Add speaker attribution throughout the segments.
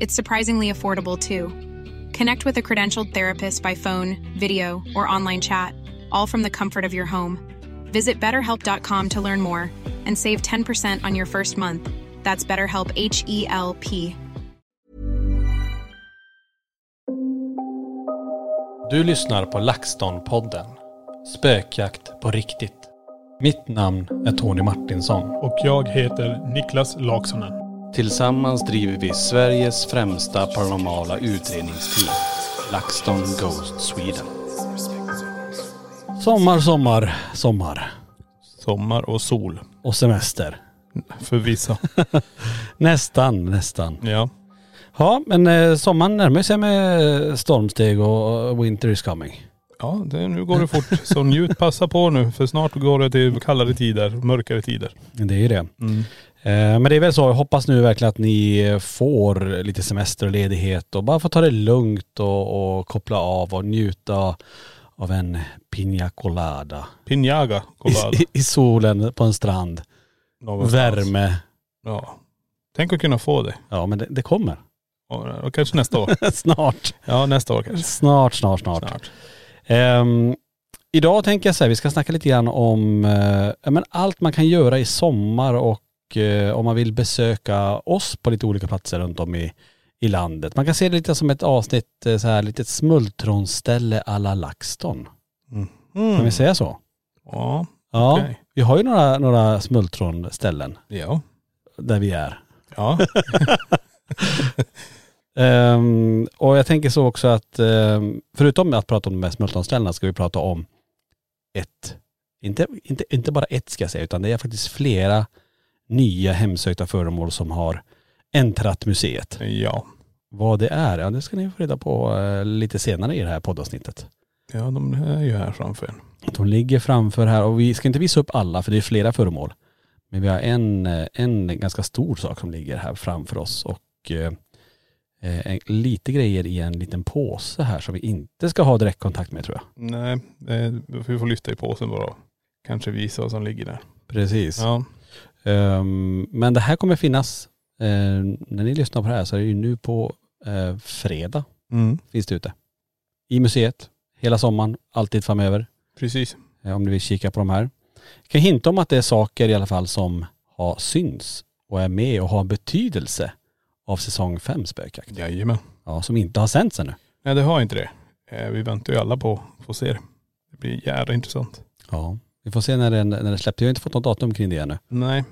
Speaker 1: It's surprisingly affordable too. Connect with a credentialed therapist by phone, video, or online chat, all from the comfort of your home. Visit betterhelp.com to learn more and save 10% on your first month. That's BetterHelp H E L P.
Speaker 2: Du lyssnar på LaxTon-podden. Spökjakt på riktigt. Mitt namn är Tony Martinsson.
Speaker 3: Och jag heter Niklas Laksonen.
Speaker 2: Tillsammans driver vi Sveriges främsta paranormala utredningsteam. LaxTon Ghost Sweden. Sommar, sommar, sommar.
Speaker 3: Sommar och sol.
Speaker 2: Och semester.
Speaker 3: För vissa.
Speaker 2: Nästan, nästan.
Speaker 3: ja.
Speaker 2: Ja, men eh, sommaren närmar sig med eh, stormsteg och och winter is coming.
Speaker 3: Ja, det, nu går det fort. Så njut, passa på nu. För snart går det till kallare tider, mörkare tider.
Speaker 2: Det är ju det. Eh, Men det är väl så, jag hoppas nu verkligen att ni eh, får lite semester och ledighet och bara få ta det lugnt och, och koppla av och njuta av en piña colada.
Speaker 3: Pinjaga, kolla.
Speaker 2: I, i, I solen på en strand. Värme.
Speaker 3: Ja. Tänk att kunna få det.
Speaker 2: Ja men det, det kommer.
Speaker 3: Ja, Och kanske nästa år.
Speaker 2: snart.
Speaker 3: Ja, nästa år kanske.
Speaker 2: Snart, snart, snart.
Speaker 3: Snart.
Speaker 2: Ehm, idag tänker jag så här, vi ska snacka lite grann om eh, ja, men allt man kan göra i sommar och eh, om man vill besöka oss på lite olika platser runt om i, i landet. Man kan se det lite som ett avsnitt, eh, så här litet smultronställe à la LaxTon. Kan vi
Speaker 3: Mm.
Speaker 2: säga så?
Speaker 3: Ja.
Speaker 2: Ja,
Speaker 3: Okej.
Speaker 2: vi har ju några, några smultronställen
Speaker 3: Ja.
Speaker 2: där vi är.
Speaker 3: Ja.
Speaker 2: Ehm, och jag tänker så också att ehm, förutom att prata om de här smultronställena ska vi prata om ett, inte, inte, inte bara ett ska jag säga, utan det är faktiskt flera nya hemsökta föremål som har entrat museet.
Speaker 3: Ja.
Speaker 2: Vad det är, ja det ska ni få reda på eh, lite senare i det här poddavsnittet.
Speaker 3: Ja, de är ju här framför en.
Speaker 2: De ligger framför här och vi ska inte visa upp alla för det är flera föremål. Men vi har en, eh, en ganska stor sak som ligger här framför oss och eh, eh, en- lite grejer i en liten påse här som vi inte ska ha direktkontakt med tror jag.
Speaker 3: Nej, eh, vi får lyfta i påsen bara. och Kanske visa vad som ligger där.
Speaker 2: Precis.
Speaker 3: Ja.
Speaker 2: Ehm, men det här kommer finnas, eh, när ni lyssnar på det här så är det ju nu på eh, fredag
Speaker 3: Mm.
Speaker 2: finns det ute. I museet, hela sommaren, alltid framöver.
Speaker 3: Precis.
Speaker 2: eh, om du vill kika på de här. Jag kan hinta om att det är saker i alla fall som har syns och är med och har betydelse av säsong 5 spökjakt.
Speaker 3: Jajamän.
Speaker 2: Ja, som inte har sänts ännu.
Speaker 3: Nej det har inte det. Eh, Vi väntar ju alla på att få se det. Det blir jävla intressant.
Speaker 2: Ja. Vi får se när den, när den släpps. Jag har inte fått något datum kring det ännu.
Speaker 3: Nej.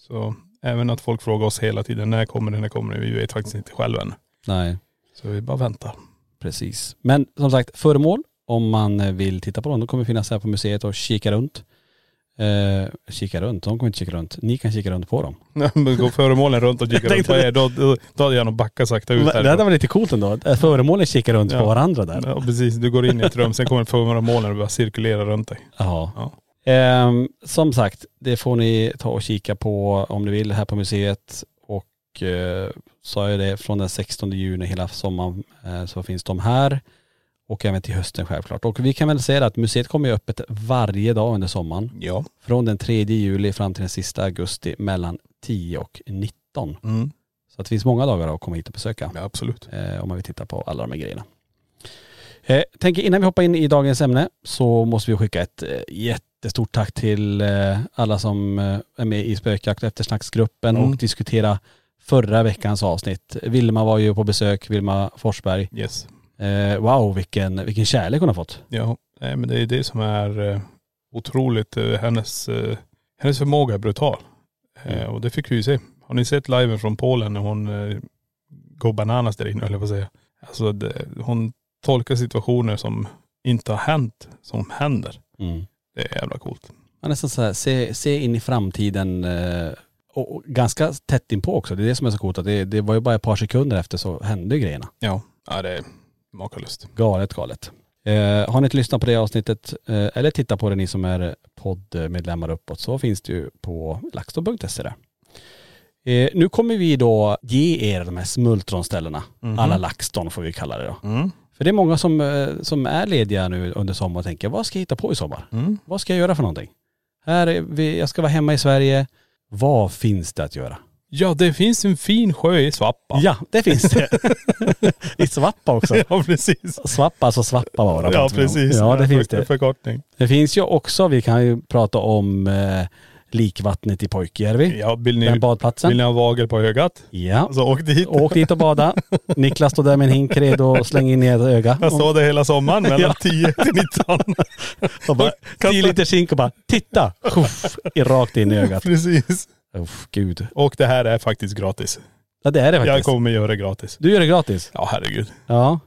Speaker 3: Så även att folk frågar oss hela tiden, när kommer det, när kommer det? Vi vet faktiskt inte själva än.
Speaker 2: Nej,
Speaker 3: Så vi bara väntar.
Speaker 2: precis. Men som sagt, föremål om man eh, vill titta på dem, de kommer finnas här på museet och kika runt. Eh, kika runt, de kommer inte kika runt. Ni kan kika runt på dem.
Speaker 3: Nej, men Går föremålen runt och kikar
Speaker 2: Jag
Speaker 3: runt
Speaker 2: tänkte
Speaker 3: på er, då, då, då hade jag nog backat sakta ut
Speaker 2: Det hade
Speaker 3: här.
Speaker 2: varit lite coolt ändå, att föremålen kikar runt på
Speaker 3: Ja.
Speaker 2: varandra där.
Speaker 3: Ja precis, du går in i ett rum, sen kommer föremålen och bara cirkulera runt dig.
Speaker 2: Ja.
Speaker 3: Ja.
Speaker 2: Ehm, som sagt, det får ni ta och kika på om ni vill här på museet. Och eh, sa jag det, från den 16 juni hela sommaren eh, så finns de här. Och även till hösten självklart. Och vi kan väl säga det att museet kommer ju öppet varje dag under sommaren.
Speaker 3: Ja.
Speaker 2: Från den 3 juli fram till den sista augusti mellan 10 och 19.
Speaker 3: Mm.
Speaker 2: Så att det finns många dagar att komma hit och besöka.
Speaker 3: ja, absolut.
Speaker 2: Eh, om man vill titta på alla de här grejerna. Eh, tänker innan vi hoppar in i dagens ämne så måste vi skicka ett eh, jättestort tack till eh, alla som eh, är med i Spökjakt och eftersnacksgruppen
Speaker 3: Mm.
Speaker 2: och diskutera förra veckans avsnitt. Vilma var ju på besök, Vilma Forsberg.
Speaker 3: Yes.
Speaker 2: Eh, wow vilken, vilken kärlek hon har fått.
Speaker 3: Ja. Nej, men det är det som är eh, otroligt. eh, Hennes, eh, hennes förmåga är brutal. Eh, och det fick vi ju se. Har ni sett liven från Polen när hon eh, går bananas där inne, eller vad säger jag? Alltså det, hon tolkar situationer som inte har hänt, som händer.
Speaker 2: Mm.
Speaker 3: Det är jävla coolt.
Speaker 2: Ja, nästan så här, se, se in i framtiden eh, och, och ganska tätt inpå också. Det är det som är så coolt att det, det var ju bara ett par sekunder efter så hände ju grejerna.
Speaker 3: Ja. Ja det är makalöst.
Speaker 2: Galet, galet. Eh, har ni inte lyssnat på det avsnittet eh, eller tittat på det ni som är poddmedlemmar uppåt så finns det ju på laxton.se där. Eh, nu kommer vi då ge er de här smultronställena. Alla LaxTon får vi kalla det då. För det är många som, eh, som är lediga nu under sommaren och tänker, vad ska jag hitta på i sommar? Vad ska jag göra för någonting? Här är vi, jag ska vara hemma i Sverige. Vad finns det att göra?
Speaker 3: Ja det finns en fin sjö i Svappa.
Speaker 2: Ja, det finns det. I Svappa också.
Speaker 3: ja precis.
Speaker 2: Svappa, alltså svappa var det.
Speaker 3: Ja precis.
Speaker 2: Ja det finns
Speaker 3: För-
Speaker 2: det.
Speaker 3: Förkortning.
Speaker 2: Det finns ju också, vi kan ju prata om eh, likvattnet i Pojkjärvi.
Speaker 3: Ja vill ni,
Speaker 2: Den badplatsen.
Speaker 3: vill ni ha Alltså, vagel på ögat?
Speaker 2: Ja.
Speaker 3: Så åk dit.
Speaker 2: Åk dit och bada. Niklas stod där med en hink redo och slängde in i ett öga.
Speaker 3: Jag såg det hela sommaren mellan 10 till 19.
Speaker 2: Och bara, tio liter zink och bara, titta! Uff, rakt in i ögat.
Speaker 3: Precis.
Speaker 2: Uff, gud.
Speaker 3: Och det här är faktiskt gratis.
Speaker 2: Ja det är det
Speaker 3: Jag
Speaker 2: faktiskt.
Speaker 3: kommer göra det gratis.
Speaker 2: Du gör det gratis?
Speaker 3: Ja herregud.
Speaker 2: Ja.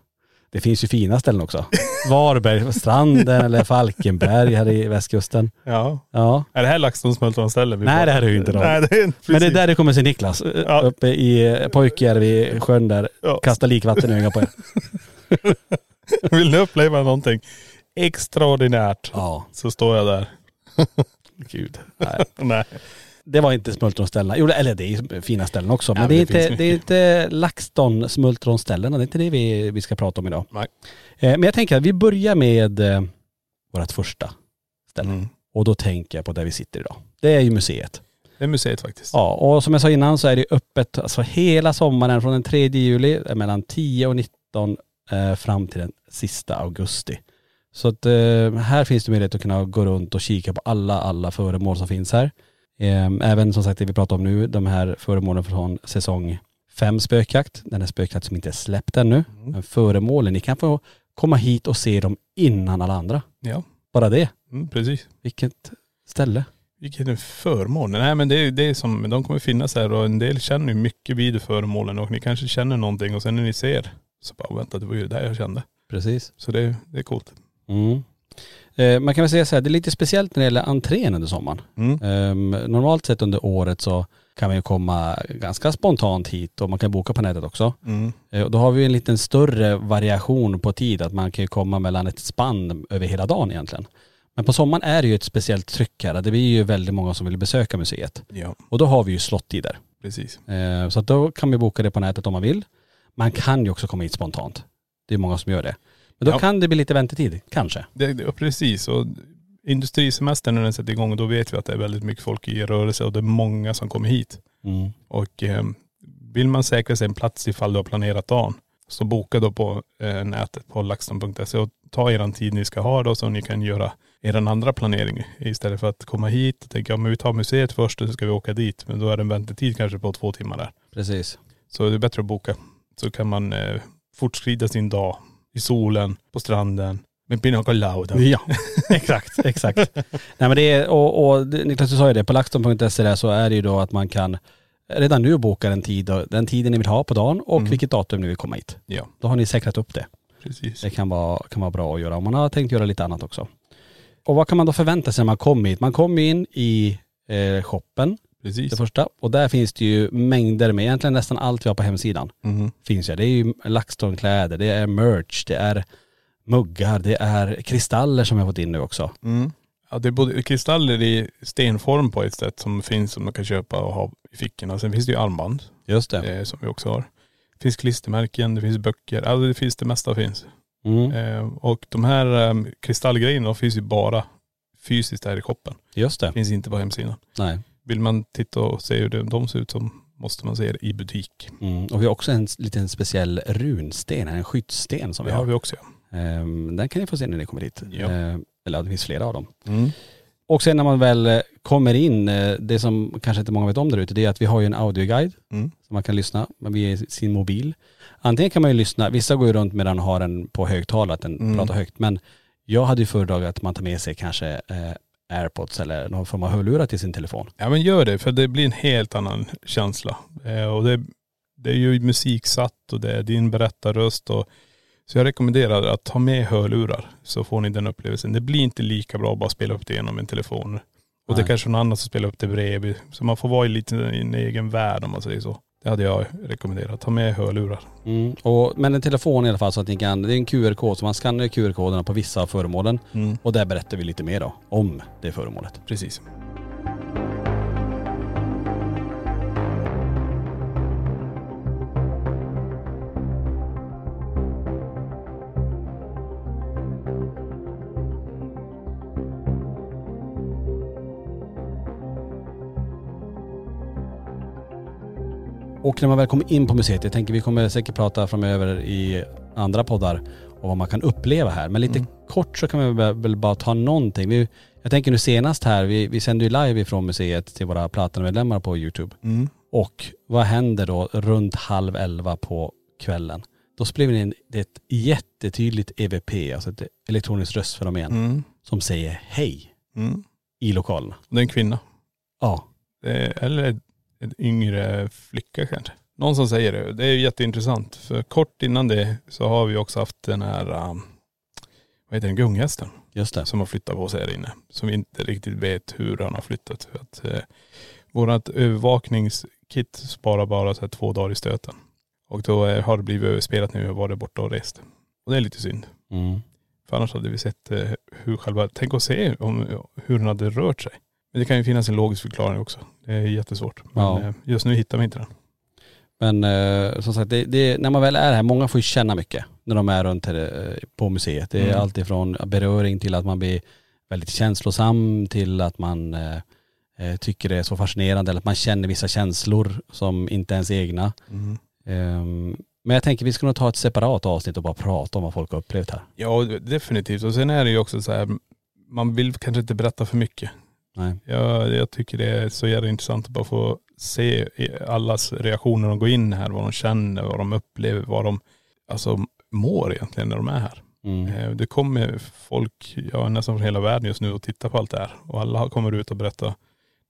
Speaker 2: Det finns ju fina ställen också. Varberg, stranden eller Falkenberg här i västkusten.
Speaker 3: Ja.
Speaker 2: Ja.
Speaker 3: Är det här LaxTonsmultronstället vi
Speaker 2: Nej
Speaker 3: får?
Speaker 2: det här är ju inte
Speaker 3: Nej
Speaker 2: dem.
Speaker 3: det är precis.
Speaker 2: Men det är där det kommer se Niklas.
Speaker 3: Ja.
Speaker 2: Uppe i eh, Pojkjärvi sjön där.
Speaker 3: Ja.
Speaker 2: Kasta likvatten i ögat på er.
Speaker 3: Vill ni uppleva någonting extraordinärt
Speaker 2: Ja.
Speaker 3: så står jag där.
Speaker 2: Gud. Nej.
Speaker 3: Nej.
Speaker 2: Det var inte smultronställena. Jo eller det är ju fina ställen också. Men
Speaker 3: Ja,
Speaker 2: det, är
Speaker 3: det
Speaker 2: inte,
Speaker 3: finns
Speaker 2: det är inte LaxTon smultronställena. Det är inte det vi, vi ska prata om idag.
Speaker 3: Nej.
Speaker 2: Eh, Men jag tänker att vi börjar med eh, vårt första ställe.
Speaker 3: Mm.
Speaker 2: Och då tänker jag på där vi sitter idag. Det är ju museet.
Speaker 3: Det är museet faktiskt.
Speaker 2: Ja, och som jag sa innan så är det öppet alltså hela sommaren från den 3 juli eh, mellan 10 och 19 eh, fram till den sista augusti. Så att eh, här finns det möjlighet att kunna gå runt och kika på alla, alla föremål som finns här. Eh, även som sagt det vi pratar om nu, de här föremålen från säsong 5 spökjakt. Den här spökjakt som inte är släppt ännu. Men föremålen, ni kan få komma hit och se dem innan alla andra.
Speaker 3: Ja.
Speaker 2: Bara det.
Speaker 3: Mm, precis.
Speaker 2: Vilket ställe.
Speaker 3: Vilken förmån. Nej men det är det är som, de kommer finnas här och en del känner ju mycket vid föremålen och ni kanske känner någonting och sen när ni ser så bara vänta det var ju det där jag kände.
Speaker 2: Precis.
Speaker 3: Så det, det är coolt.
Speaker 2: Mm. Eh, man kan väl säga så här, det är lite speciellt när det gäller entrén under sommaren.
Speaker 3: Mm.
Speaker 2: Ehm, normalt sett under året så kan man ju komma ganska spontant hit och man kan boka på nätet också.
Speaker 3: Mm.
Speaker 2: Eh, och då har vi ju en liten större variation på tid, att man kan ju komma mellan ett spann över hela dagen egentligen. Men på sommaren är det ju ett speciellt tryck här. Det blir ju väldigt många som vill besöka museet.
Speaker 3: Ja
Speaker 2: Och då har vi ju slottider.
Speaker 3: precis.
Speaker 2: Eh, Så att då kan man boka det på nätet om man vill. Man kan ju också komma hit spontant. Det är många som gör det. Men då
Speaker 3: Ja.
Speaker 2: kan det bli lite väntetid, kanske.
Speaker 3: Det, det, ja, precis och industrisemestern när den sätter igång då vet vi att det är väldigt mycket folk i rörelse och det är många som kommer hit.
Speaker 2: Mm.
Speaker 3: Och eh, vill man säkra sig en plats ifall du har planerat dagen så boka då på eh, nätet på laxton.se och ta er tid ni ska ha då så ni kan göra er andra planering istället för att komma hit och tänka ja, men vi tar museet först och så ska vi åka dit. Men då är det en väntetid kanske på två timmar där.
Speaker 2: Precis.
Speaker 3: Så det är bättre att boka. Så kan man eh, fortskrida sin dag i solen, på stranden, med pina colada.
Speaker 2: Ja, exakt, exakt. Nej men det är, och, och det- Niklas du sa ju det, på laxton.se där så är det ju då att man kan redan nu boka den, tid, den tiden ni vill ha på dagen och vilket datum ni vill komma hit.
Speaker 3: Ja,
Speaker 2: Då har ni säkrat upp det.
Speaker 3: precis.
Speaker 2: Det kan vara, kan vara bra att göra om man har tänkt göra lite annat också. Och vad kan man då förvänta sig när man kommer hit? Man kommer in i eh, shoppen,
Speaker 3: Precis.
Speaker 2: det första. Och där finns det ju mängder med, egentligen nästan allt vi har på hemsidan
Speaker 3: Mhm.
Speaker 2: finns ju. Det är ju LaxTon-kläder, det är merch, det är muggar, det är kristaller som jag har fått in nu också.
Speaker 3: Ja, det är både kristaller i stenform på ett sätt som finns som man kan köpa och ha i fickorna. Sen finns det ju armband
Speaker 2: Just det.
Speaker 3: eh, som vi också har. Det finns klistermärken, det finns böcker, alltså det finns det mesta finns.
Speaker 2: Mm.
Speaker 3: Eh, och de här eh, kristallgrejerna de finns ju bara fysiskt här i shoppen.
Speaker 2: Just det.
Speaker 3: Finns inte på hemsidan.
Speaker 2: Nej.
Speaker 3: Vill man titta och se hur de- de ser ut så måste man se det i butik.
Speaker 2: Mm. Och vi har också en s- liten speciell runsten, här, en skyddssten som
Speaker 3: det
Speaker 2: vi
Speaker 3: har
Speaker 2: har.
Speaker 3: vi också ja.
Speaker 2: Ehm, den kan ni få se när ni kommer dit.
Speaker 3: Ja.
Speaker 2: Ehm, eller ja, det finns flera av dem.
Speaker 3: Mm.
Speaker 2: Och sen när man väl eh, kommer in, eh, det som kanske inte många vet om där ute, det är att vi har ju en audioguide
Speaker 3: Mm.
Speaker 2: som man kan lyssna via sin mobil. Antingen kan man ju lyssna, vissa går ju runt medan har den på högtalare, att den
Speaker 3: Mm.
Speaker 2: pratar högt. Men jag hade ju föredragit att man tar med sig kanske eh, airpods eller någon form av hörlurar till sin telefon.
Speaker 3: Ja men gör det för det blir en helt annan känsla. Eh, och det, det är ju musiksatt och det är din berättarröst och så jag rekommenderar att ta med hörlurar så får ni den upplevelsen. Det blir inte lika bra att bara spela upp det genom en telefon. Och det
Speaker 2: Nej.
Speaker 3: kanske någon annan som spelar upp det bredvid. Så man får vara i lite i en egen värld om man säger så. Det hade jag rekommenderat. Ta med hörlurar.
Speaker 2: Mm. Och, men en telefon i alla fall så att ni kan, det är en QR-kod så man skannar QR-koderna på vissa av föremålen
Speaker 3: Mm.
Speaker 2: och där berättar vi lite mer då om det föremålet.
Speaker 3: Precis.
Speaker 2: Och när man väl kommer in på museet, jag tänker vi kommer säkert prata framöver i andra poddar om vad man kan uppleva här. Men
Speaker 3: Mm.
Speaker 2: lite kort så kan vi väl- väl bara ta någonting. Vi, jag tänker nu senast här, vi, vi sänder ju live ifrån museet till våra platinamedlemmar på YouTube.
Speaker 3: Mm.
Speaker 2: Och vad händer då runt halv elva på kvällen? Då spelar vi in ett jättetydligt EVP, alltså ett elektroniskt röstfenomen,
Speaker 3: Mm.
Speaker 2: som säger hej
Speaker 3: Mm.
Speaker 2: i lokalerna.
Speaker 3: Och Det är en kvinna.
Speaker 2: Ja,
Speaker 3: Eh, Eller en yngre flicka kanske. Någon som säger det. Det är ju jätteintressant. För kort innan det så har vi också haft den här, um, vad heter den, gunghästen
Speaker 2: just det.
Speaker 3: som har flyttat på sig här inne. Som vi inte riktigt vet hur han har flyttat. För att, eh, vårat övervakningskit sparar bara så här två dagar i stöten. Och då eh, har det blivit överspelat nu och varit borta och rest. Och det är lite synd.
Speaker 2: Mm.
Speaker 3: För annars hade vi sett eh, hur själva, tänk att se om, hur den hade rört sig. Men det kan ju finnas en logisk förklaring också. Det är jättesvårt. Men
Speaker 2: Ja.
Speaker 3: eh, just nu hittar vi inte den.
Speaker 2: Men eh, som sagt, det, det, när man väl är här, många får ju känna mycket när de är runt här, eh, på museet. Det är
Speaker 3: Mm.
Speaker 2: allt ifrån beröring till att man blir väldigt känslosam till att man eh, eh, tycker det är så fascinerande eller att man känner vissa känslor som inte ens är egna. Ehm, men jag tänker vi ska nog ta ett separat avsnitt och bara prata om vad folk har upplevt här.
Speaker 3: Ja, definitivt. Och sen är det ju också så här, man vill kanske inte berätta för mycket.
Speaker 2: Nej.
Speaker 3: Jag, jag tycker det är så jävla intressant att bara få se i- allas reaktioner när de går in här. Vad de känner, vad de upplever, vad de alltså, mår egentligen när de är här.
Speaker 2: Mm.
Speaker 3: Eh, Det kommer folk, ja nästan från hela världen just nu och tittar på allt det här. Och alla kommer ut och berättar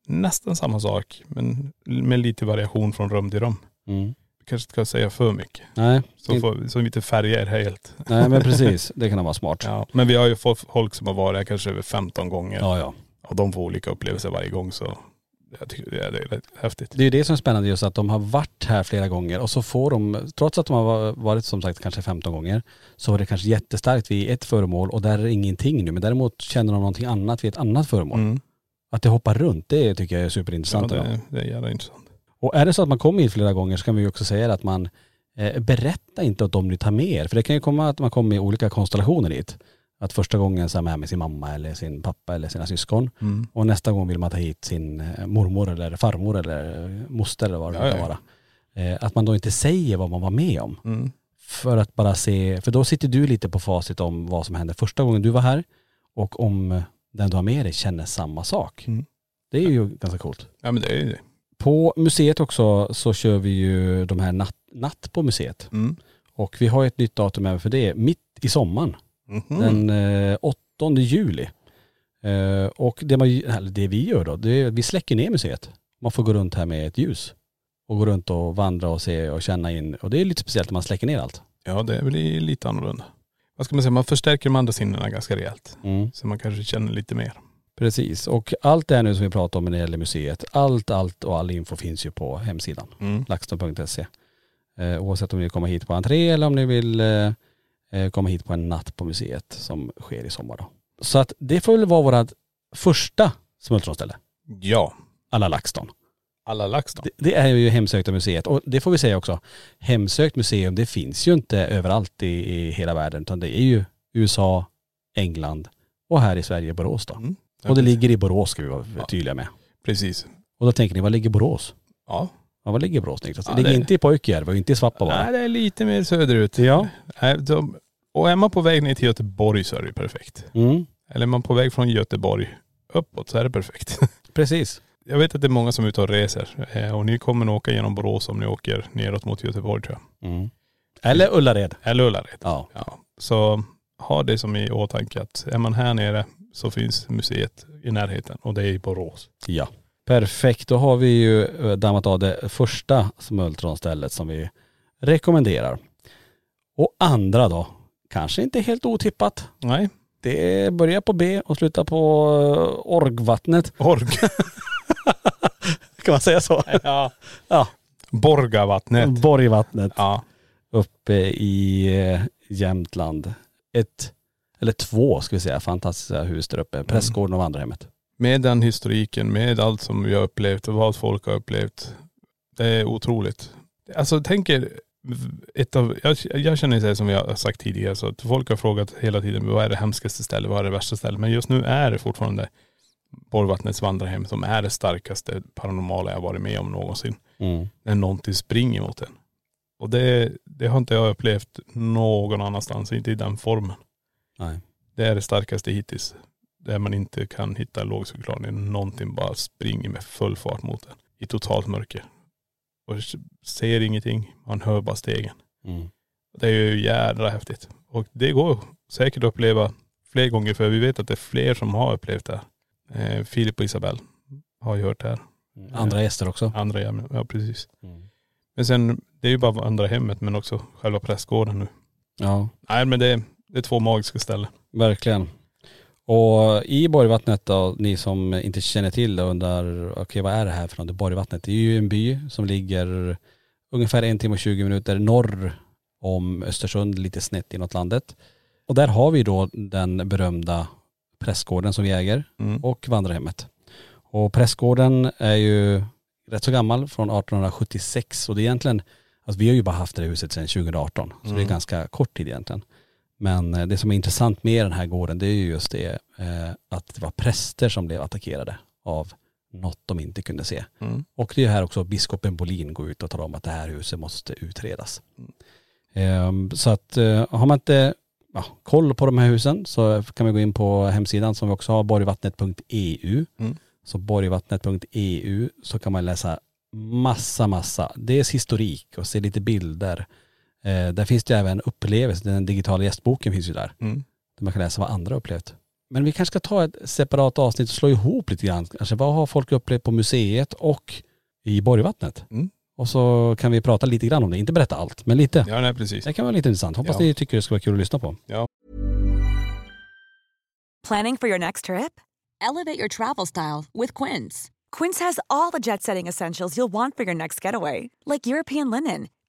Speaker 3: nästan samma sak men med lite variation från rum till rum.
Speaker 2: Mm.
Speaker 3: Vi kanske inte ska säga för mycket.
Speaker 2: Nej,
Speaker 3: Så, får, så vi inte färgar helt.
Speaker 2: nej men precis, det kan vara smart. Ja
Speaker 3: Ja. Men vi har ju fått folk som har varit här kanske över 15 gånger.
Speaker 2: ja.
Speaker 3: Och de får olika upplevelser varje gång så jag tycker det är, det är rätt häftigt.
Speaker 2: Det är ju det som är spännande just att de har varit här flera gånger och så får de, trots att de har varit som sagt kanske 15 gånger, så är det kanske jättestarkt vid ett föremål och där är det ingenting nu. Men däremot känner de någonting annat vid ett annat föremål.
Speaker 3: Mm.
Speaker 2: Att det hoppar runt, det tycker jag är
Speaker 3: Ja,
Speaker 2: superintressant. idag.
Speaker 3: det, det är jävla intressant.
Speaker 2: Och är det så att man kommer hit flera gånger så kan vi ju också säga det att man eh, berätta inte åt dem ni tar med er. För det kan ju komma att man kommer i olika konstellationer hit. Att första gången så är man här med sin mamma eller sin pappa eller sina syskon.
Speaker 3: Mm.
Speaker 2: Och nästa gång vill man ta hit sin eh, mormor eller farmor eller eh, moster eller vad det
Speaker 3: Ja,
Speaker 2: nu kan
Speaker 3: ja.
Speaker 2: vara. Eh, Att man då inte säger vad man var med om.
Speaker 3: Mm.
Speaker 2: För att bara se, för då sitter du lite på facit om vad som hände första gången du var här och om den du har med dig känner samma sak.
Speaker 3: Mm.
Speaker 2: Det är ju ganska coolt.
Speaker 3: Ja men det är ju det.
Speaker 2: På museet också så kör vi ju de här natt, natt på museet.
Speaker 3: Mm.
Speaker 2: Och vi har ju ett nytt datum även för det, mitt i sommaren
Speaker 3: Mhm.
Speaker 2: den eh, 8 juli. Eh, och det, man, eller det vi gör då, det är, vi släcker ner museet. Man får gå runt här med ett ljus. Och gå runt och vandra och se och känna in. Och det är lite speciellt när man släcker ner allt.
Speaker 3: Ja det blir lite annorlunda. Vad ska man säga, man förstärker de andra sinnena ganska rejält.
Speaker 2: Mm.
Speaker 3: Så man kanske känner lite mer.
Speaker 2: Precis, och allt det här nu som vi pratar om när det gäller museet, allt, allt och all info finns ju på hemsidan,
Speaker 3: Mm.
Speaker 2: laxton.se. Eh, oavsett om ni vill komma hit på entré eller om ni vill eh, eh, komma hit på en natt på museet som sker i sommar då. Så att det får väl vara vårt första smultronställe,
Speaker 3: Ja,
Speaker 2: alla LaxTon.
Speaker 3: alla lax då.
Speaker 2: Det, det är ju Hemsökta museet och det får vi säga också. Hemsökt museum det finns ju inte överallt i, i hela världen utan det är ju USA, England och här i Sverige Borås då.
Speaker 3: Mm.
Speaker 2: Och det ligger i Borås ska vi vara
Speaker 3: Ja.
Speaker 2: tydliga med.
Speaker 3: Precis.
Speaker 2: Och då tänker ni, var ligger Borås?
Speaker 3: Ja.
Speaker 2: Ja, var ligger Borås Niklas? Det
Speaker 3: Ja,
Speaker 2: ligger
Speaker 3: det-
Speaker 2: inte i Pojkjärv och inte i Svappavaara.
Speaker 3: Nej det är lite mer söderut. Ja. De, och är man på väg ner till Göteborg så är det ju perfekt.
Speaker 2: Mm,
Speaker 3: Eller är man på väg från Göteborg uppåt så är det perfekt.
Speaker 2: precis.
Speaker 3: Jag vet att det är många som är ute och reser. eh, Och ni kommer nog åka genom Borås om ni åker neråt mot Göteborg tror jag.
Speaker 2: Mm. Eller Ullared.
Speaker 3: Eller Ullared.
Speaker 2: Ja.
Speaker 3: Ja. Så ha det som i åtanke att är man här nere så finns museet i närheten och det är i Borås.
Speaker 2: Ja. Perfekt, då har vi ju eh, dammat av det första smultronstället som vi rekommenderar. Och andra då, kanske inte helt otippat.
Speaker 3: Nej,
Speaker 2: Det börjar på B och slutar på eh, Orgvattnet.
Speaker 3: Borg.
Speaker 2: Kan man säga så?
Speaker 3: ja.
Speaker 2: Ja.
Speaker 3: Borgavattnet.
Speaker 2: Borgvattnet
Speaker 3: Ja.
Speaker 2: uppe i eh, Jämtland. Ett, eller två ska vi säga, fantastiska hus där uppe. Prästgården och vandrarhemmet.
Speaker 3: Med den historiken, med allt som vi har upplevt och vad folk har upplevt. Det är otroligt. Alltså tänk er, ett av, jag, jag känner så här som vi har sagt tidigare, så att folk har frågat hela tiden vad är det hemskaste stället, vad är det värsta stället? Men just nu är det fortfarande Borgvattnets vandrarhem som är det starkaste paranormala jag varit med om någonsin.
Speaker 2: Mm.
Speaker 3: När någonting springer mot en. Och det, det har inte jag upplevt någon annanstans, inte i den formen.
Speaker 2: Nej.
Speaker 3: Det är det starkaste hittills. Där man inte kan hitta en logisk förklaring. Någonting bara springer med full fart mot en. I totalt mörker. Och ser ingenting. Man hör bara stegen.
Speaker 2: Mm.
Speaker 3: Det är ju jädra häftigt. Och det går säkert att uppleva fler gånger. För vi vet att det är fler som har upplevt det här. Eh, Filip och Isabel har ju hört det här.
Speaker 2: Andra gäster också.
Speaker 3: Andra ämnen. Ja precis.
Speaker 2: Mm.
Speaker 3: Men sen, det är ju bara andra hemmet men också själva prästgården nu.
Speaker 2: Ja.
Speaker 3: Nej men det, det är två magiska ställen.
Speaker 2: Verkligen. Och i Borgvattnet då, ni som inte känner till det undrar, okej vad är det här för något? Borgvattnet, det är ju en by som ligger ungefär en timme och 20 minuter norr om Östersund, lite snett inåt landet. Och där har vi då den berömda prästgården som vi äger
Speaker 3: Mm.
Speaker 2: och vandrarhemmet. Och prästgården är ju rätt så gammal, från 1876 och det är egentligen, alltså vi har ju bara haft det här huset sedan 2018, så det är ganska kort tid egentligen. Men eh, det som är intressant med den här gården det är ju just det eh, att det var präster som blev attackerade av något de inte kunde se.
Speaker 3: Mm.
Speaker 2: Och det är här också biskopen Bolin går ut och talar om att det här huset måste utredas.
Speaker 3: Mm.
Speaker 2: Ehm, Så att eh, har man inte ja, koll på de här husen så kan man gå in på hemsidan som vi också har, borgvattnet.eu.
Speaker 3: Mm.
Speaker 2: Så borgvattnet.eu så kan man läsa massa, massa. Dels historik och se lite bilder. Eh, där finns det ju även upplevelser, den digitala gästboken finns ju där.
Speaker 3: Mm.
Speaker 2: Där man kan läsa vad andra upplevt. Men vi kanske ska ta ett separat avsnitt och slå ihop lite grann. Kanske vad har folk upplevt på museet och i Borgvattnet?
Speaker 3: Mm.
Speaker 2: Och så kan vi prata lite grann om det. Inte berätta allt, men lite.
Speaker 3: Ja nej precis.
Speaker 2: Det kan vara lite intressant. Hoppas
Speaker 3: Ja.
Speaker 2: ni tycker det ska vara kul att lyssna på.
Speaker 4: Planning for your next trip?
Speaker 5: Elevate your travel style with Quince.
Speaker 4: Quince has all the jet setting essentials you'll want for your next getaway, like European linen,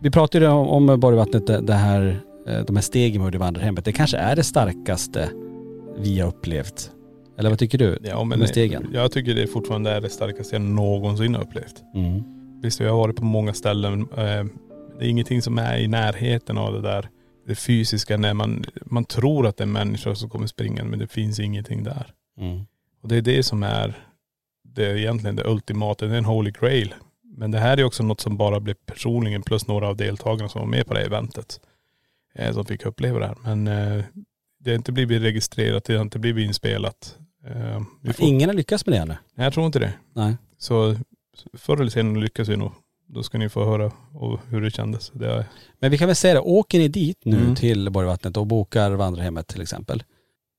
Speaker 2: Vi pratade ju om, om Borgvattnet, det, det här, eh, de här stegen med vandrarhemmet. Det kanske är det starkaste vi har upplevt. Eller vad tycker du?
Speaker 3: Ja, eh,
Speaker 2: Med stegen.
Speaker 3: Jag tycker det fortfarande är det starkaste jag någonsin har upplevt.
Speaker 2: Mm.
Speaker 3: Visst, jag har varit på många ställen. eh, Det är ingenting som är i närheten av det där det fysiska när man, man tror att det är människor som kommer springa men det finns ingenting där.
Speaker 2: Mm.
Speaker 3: Och det är det som är det är egentligen det ultimata, det är en holy grail Men det här är också något som bara blev personligen plus några av deltagarna som var med på det här eventet eh, som fick uppleva det här. Men eh, det har inte blivit registrerat, det har inte blivit inspelat. Eh, vi får,
Speaker 2: Ingen har lyckats med det ännu.
Speaker 3: Nej jag tror inte det.
Speaker 2: Nej.
Speaker 3: Så förr eller senare lyckas vi nog. Då ska ni få höra och hur det kändes. Det är,
Speaker 2: Men vi kan väl säga det, åker ni dit nu
Speaker 3: Mm.
Speaker 2: till Borgvattnet och bokar vandrarhemmet till exempel.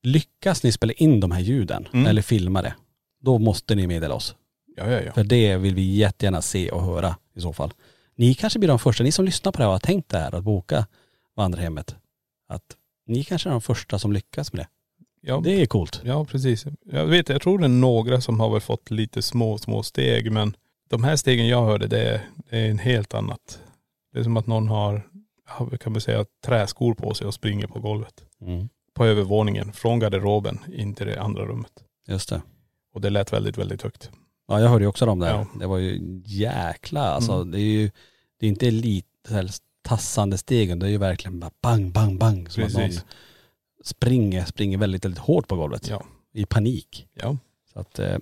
Speaker 2: Lyckas ni spela in de här ljuden
Speaker 3: Mm.
Speaker 2: eller filma det, då måste ni meddela oss.
Speaker 3: ja, ja, ja.
Speaker 2: För det vill vi jättegärna se och höra i så fall. Ni kanske blir de första, ni som lyssnar på det här och har tänkt det här att boka vandrarhemmet. Att ni kanske är de första som lyckas med det.
Speaker 3: ja.
Speaker 2: Det är coolt.
Speaker 3: Ja, precis. Jag vet, jag tror det är några som har väl fått lite små, små steg, men de här stegen jag hörde, det är, det är en helt annat. Det är som att någon har, ja, kan man säga, träskor på sig och springer på golvet.
Speaker 2: Mm.
Speaker 3: På övervåningen, från garderoben in till det andra rummet.
Speaker 2: Just det.
Speaker 3: Och det lät väldigt, väldigt högt.
Speaker 2: Ja jag hörde ju också dem där.
Speaker 3: Ja. Mm.
Speaker 2: Det var ju jäkla, alltså det är ju, det är inte lite så här tassande stegen, det är ju verkligen bara bang, bang, bang. Som att någon
Speaker 3: Precis.
Speaker 2: springer, springer väldigt, väldigt hårt på golvet
Speaker 3: Ja.
Speaker 2: i panik.
Speaker 3: Ja.
Speaker 2: Så att, eh,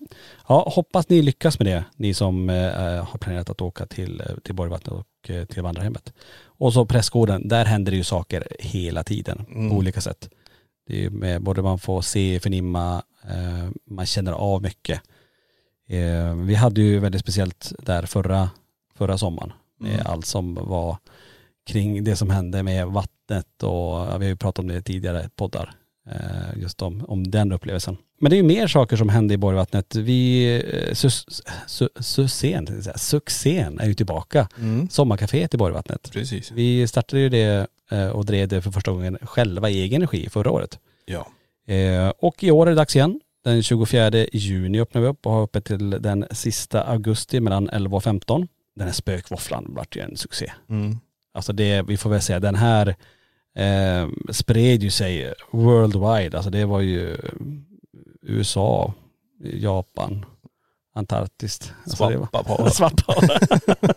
Speaker 2: ja, hoppas ni lyckas med det, ni som eh, har planerat att åka till, eh, till Borgvattnet och eh, till vandrarhemmet. Och så prästgården, där händer det ju saker hela tiden
Speaker 3: Mm.
Speaker 2: på olika sätt. Det är ju med, både man får se, förnimma, eh, man känner av mycket. Eh, vi hade ju väldigt speciellt där förra, förra sommaren, med
Speaker 3: Mm.
Speaker 2: allt som var kring det som hände med vattnet och ja, vi har ju pratat om det i tidigare poddar, eh, just om, om den upplevelsen. Men det är ju mer saker som hände i Borgvattnet. Vi, eh, sus, su, succén, tänkte jag säga. succén är ju tillbaka.
Speaker 3: Mm.
Speaker 2: Sommarcaféet i Borgvattnet.
Speaker 3: Precis.
Speaker 2: Vi startade ju det eh, och drev det för första gången själva i egen regi förra året.
Speaker 3: Ja.
Speaker 2: Eh, och i år är det dags igen. Den 24 juni öppnar vi upp och har öppet till den sista augusti mellan 11 och 15. Den här spökvåfflan vart ju en succé.
Speaker 3: Mm.
Speaker 2: Alltså det, vi får väl säga den här eh, spred ju sig worldwide. Alltså det var ju USA, Japan, Antarktis. Alltså det var-
Speaker 3: Svappapara.
Speaker 2: Svappapara.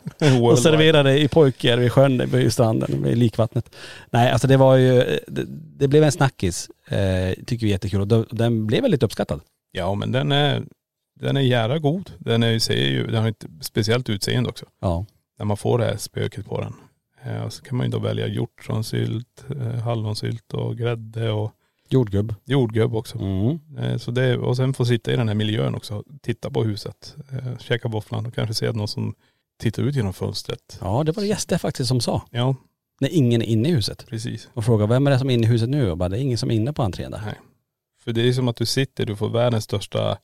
Speaker 2: och serverade i pojkar vid sjön, vid stranden, vid likvattnet. Nej alltså det var ju, det, det blev en snackis. Eh, tycker vi är jättekul och den- den blev väldigt uppskattad.
Speaker 3: Ja, men den är, den är jävla god. Den är ju, ser ju, den har ett speciellt utseende också.
Speaker 2: Ja.
Speaker 3: när man får det här spöket på den. Eh, och så kan man ju då välja hjortronsylt, eh, hallonsylt och grädde och
Speaker 2: Jordgubb.
Speaker 3: jordgubb också.
Speaker 2: Mm.
Speaker 3: Eh, så det, och sen få sitta i den här miljön också, titta på huset, eh, käka våfflan och kanske se någon som tittar ut genom fönstret.
Speaker 2: Ja det var gäster faktiskt som sa,
Speaker 3: Ja,
Speaker 2: när ingen är inne i huset.
Speaker 3: precis.
Speaker 2: Och frågar vem är det som är inne i huset nu? Och bara det är ingen som är inne på entrén där.
Speaker 3: Nej. För det är som att du sitter, du får världens största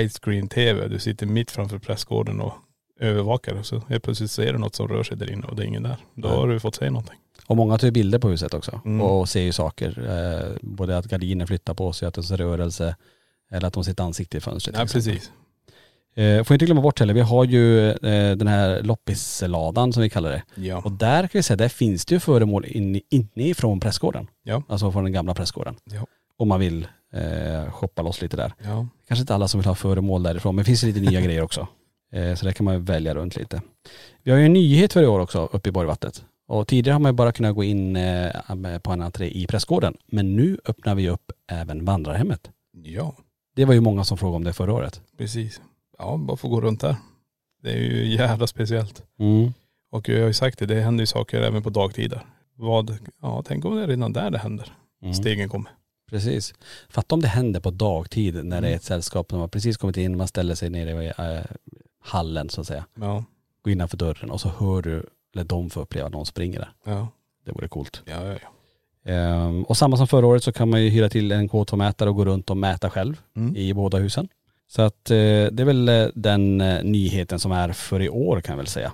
Speaker 3: widescreen-tv. Du sitter mitt framför prästgården och övervakar och så helt plötsligt ser du något som rör sig där inne och det är ingen där. Då
Speaker 2: Nej.
Speaker 3: har du fått se någonting.
Speaker 2: Och många tar ju bilder på huset också
Speaker 3: Mm.
Speaker 2: och ser ju saker. Eh, både att gardiner flyttar på sig, att det är rörelse eller att de sitter ansikte i fönstret. till
Speaker 3: Nej,
Speaker 2: exempel.
Speaker 3: precis.
Speaker 2: Eh, får inte glömma bort heller, vi har ju eh, den här loppisladan som vi kallar det.
Speaker 3: Ja.
Speaker 2: Och där kan vi säga, där finns det ju föremål in, inifrån prästgården.
Speaker 3: Ja.
Speaker 2: Alltså från den gamla prästgården.
Speaker 3: Ja.
Speaker 2: Om man vill eh, shoppa loss lite där.
Speaker 3: ja.
Speaker 2: Kanske inte alla som vill ha föremål därifrån, men det finns ju lite nya grejer också. Eh, så där kan man ju välja runt lite. Vi har ju en nyhet för i år också uppe i Borgvattnet. Och tidigare har man ju bara kunnat gå in eh, med- på en entré i prästgården. Men nu öppnar vi upp även vandrarhemmet.
Speaker 3: Ja.
Speaker 2: Det var ju många som frågade om det förra året.
Speaker 3: Precis. Ja, bara få gå runt där. Det är ju jävla speciellt. Och jag har ju sagt det, det händer ju saker även på dagtider. Vad, ja tänk om det är redan där det händer.
Speaker 2: Mm.
Speaker 3: Stegen kommer.
Speaker 2: Precis. Fatta om det händer på dagtid när det är ett sällskap som har precis kommit in, man ställer sig nere i eh, hallen så att säga.
Speaker 3: Ja,
Speaker 2: Går innanför dörren och så hör du, eller de får uppleva att någon springer där.
Speaker 3: ja,
Speaker 2: Det vore coolt.
Speaker 3: ja, ja. ja.
Speaker 2: Ehm, och samma som förra året så kan man ju hyra till en K2-mätare och gå runt och mäta själv
Speaker 3: Mm.
Speaker 2: i båda husen. Så att eh, det är väl eh, den eh, nyheten som är för i år kan jag väl säga.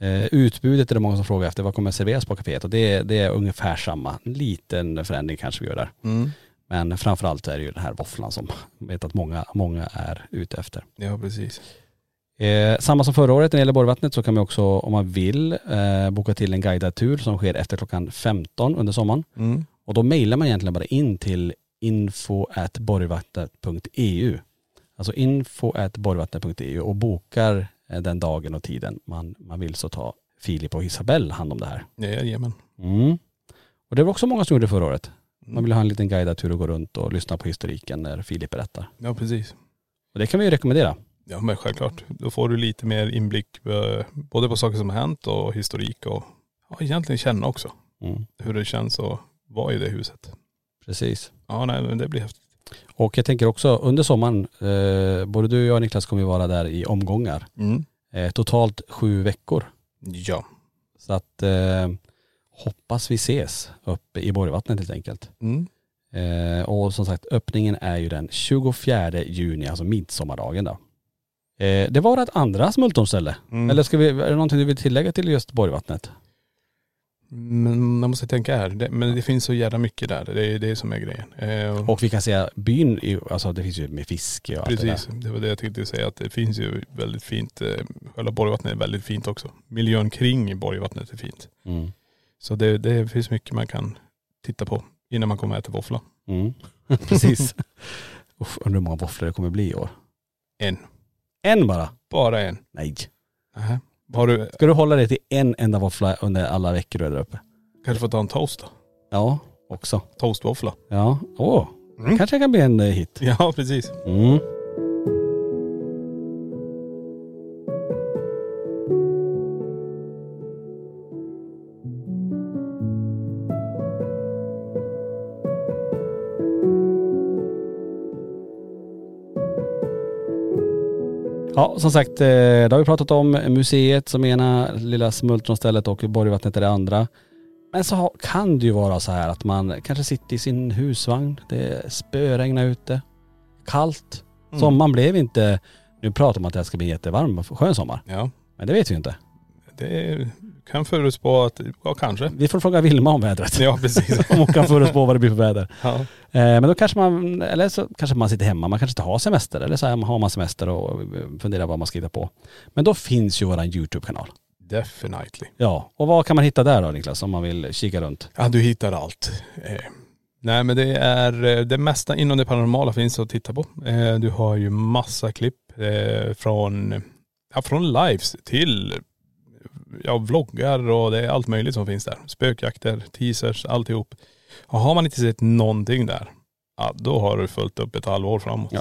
Speaker 2: Eh, utbudet är det många som frågar efter, vad kommer serveras på kaféet? Och det, det är ungefär samma, en liten förändring kanske vi gör där.
Speaker 3: Mm.
Speaker 2: Men framförallt är det ju den här våfflan som jag vet att många, många är ute efter.
Speaker 3: ja precis.
Speaker 2: Eh, samma som förra året när det gäller Borgvattnet så kan man också om man vill eh, boka till en guidad tur som sker efter klockan 15 under sommaren.
Speaker 3: Mm.
Speaker 2: Och då mejlar man egentligen bara in till info.borgvattnet.eu. Alltså info.borgvattnet.eu E och bokar eh, den dagen och tiden man, man vill så ta Filip och Isabelle hand om det här.
Speaker 3: Jajamän.
Speaker 2: Mm. Och det var också många som gjorde förra året. Man
Speaker 3: Mm.
Speaker 2: ville ha en liten guidad tur och gå runt och lyssna på historiken när Filip berättar.
Speaker 3: Mm. Ja precis.
Speaker 2: Och det kan vi ju rekommendera.
Speaker 3: Ja men självklart. Då får du lite mer inblick eh, både på saker som har hänt och historik och ja, egentligen känna också
Speaker 2: Mm.
Speaker 3: hur det känns att vara i det huset.
Speaker 2: Precis.
Speaker 3: Ja nej men det blir häftigt.
Speaker 2: Och jag tänker också under sommaren, eh, både du och jag Niklas kommer ju vara där i omgångar. Eh, totalt sju veckor.
Speaker 3: Ja.
Speaker 2: Så att eh, hoppas vi ses uppe i Borgvattnet helt enkelt.
Speaker 3: Mm.
Speaker 2: Eh, och som sagt öppningen är ju den 24 juni, alltså midsommardagen då. Eh, det var ett andra smultronställe.
Speaker 3: Mm.
Speaker 2: Eller ska vi, är det någonting du vill tillägga till just Borgvattnet?
Speaker 3: Men man måste tänka här. Det, men det finns så jävla mycket där. Det är det är som är grejen. Eh,
Speaker 2: Och vi kan säga byn, är ju- alltså det finns ju med fiske och allt det där.
Speaker 3: precis. Det var det jag tänkte säga. Att det finns ju väldigt fint. eh, Själva Borgvattnet är väldigt fint också. Miljön kring Borgvattnet är fint.
Speaker 2: Mm.
Speaker 3: Så det, det finns mycket man kan titta på innan man kommer och äter våffla.
Speaker 2: Mm. Precis. Usch, undrar hur många våfflor det kommer bli i år.
Speaker 3: En.
Speaker 2: En bara?
Speaker 3: Bara en.
Speaker 2: Nej.
Speaker 3: Nähä. Har du
Speaker 2: Ska du hålla dig till en enda våffla under alla veckor du är där uppe?
Speaker 3: kanske fått ta en toast då?
Speaker 2: Ja, också.
Speaker 3: Toastvåffla.
Speaker 2: Ja, åh.
Speaker 3: Mm.
Speaker 2: Kanske kan bli en eh, hit.
Speaker 3: Ja precis.
Speaker 2: Mm. Ja, som sagt, eh, det har vi pratat om. Museet som ena lilla smultronstället och Borgvattnet är det andra. Men så ha- kan det ju vara så här att man kanske sitter i sin husvagn, det spöregnar ute, kallt.
Speaker 3: Mm.
Speaker 2: Sommaren blev inte, nu pratar man att det här ska bli en jättevarm och skön sommar,
Speaker 3: Ja.
Speaker 2: men det vet vi ju inte.
Speaker 3: Det är, kan förutspå att, ja kanske.
Speaker 2: Vi får fråga Vilma om vädret.
Speaker 3: Ja precis.
Speaker 2: om hon kan förutspå vad det blir för väder.
Speaker 3: ja.
Speaker 2: Eh, men då kanske man, eller så kanske man sitter hemma, man kanske inte har semester, eller så här, har man semester och eh, funderar vad man ska hitta på. Men då finns ju våran YouTube-kanal.
Speaker 3: Definitely.
Speaker 2: Ja, och vad kan man hitta där då Niklas, om man vill kika runt?
Speaker 3: Ja, du hittar allt. Eh, nej, men det är eh, det mesta inom det paranormala finns att titta på. Eh, du har ju massa klipp eh, från, ja, från lives till ja, vloggar och det är allt möjligt som finns där. Spökjakter, teasers, alltihop. Och har man inte sett någonting där, ja, då har du följt upp ett halvår framåt.
Speaker 2: Ja.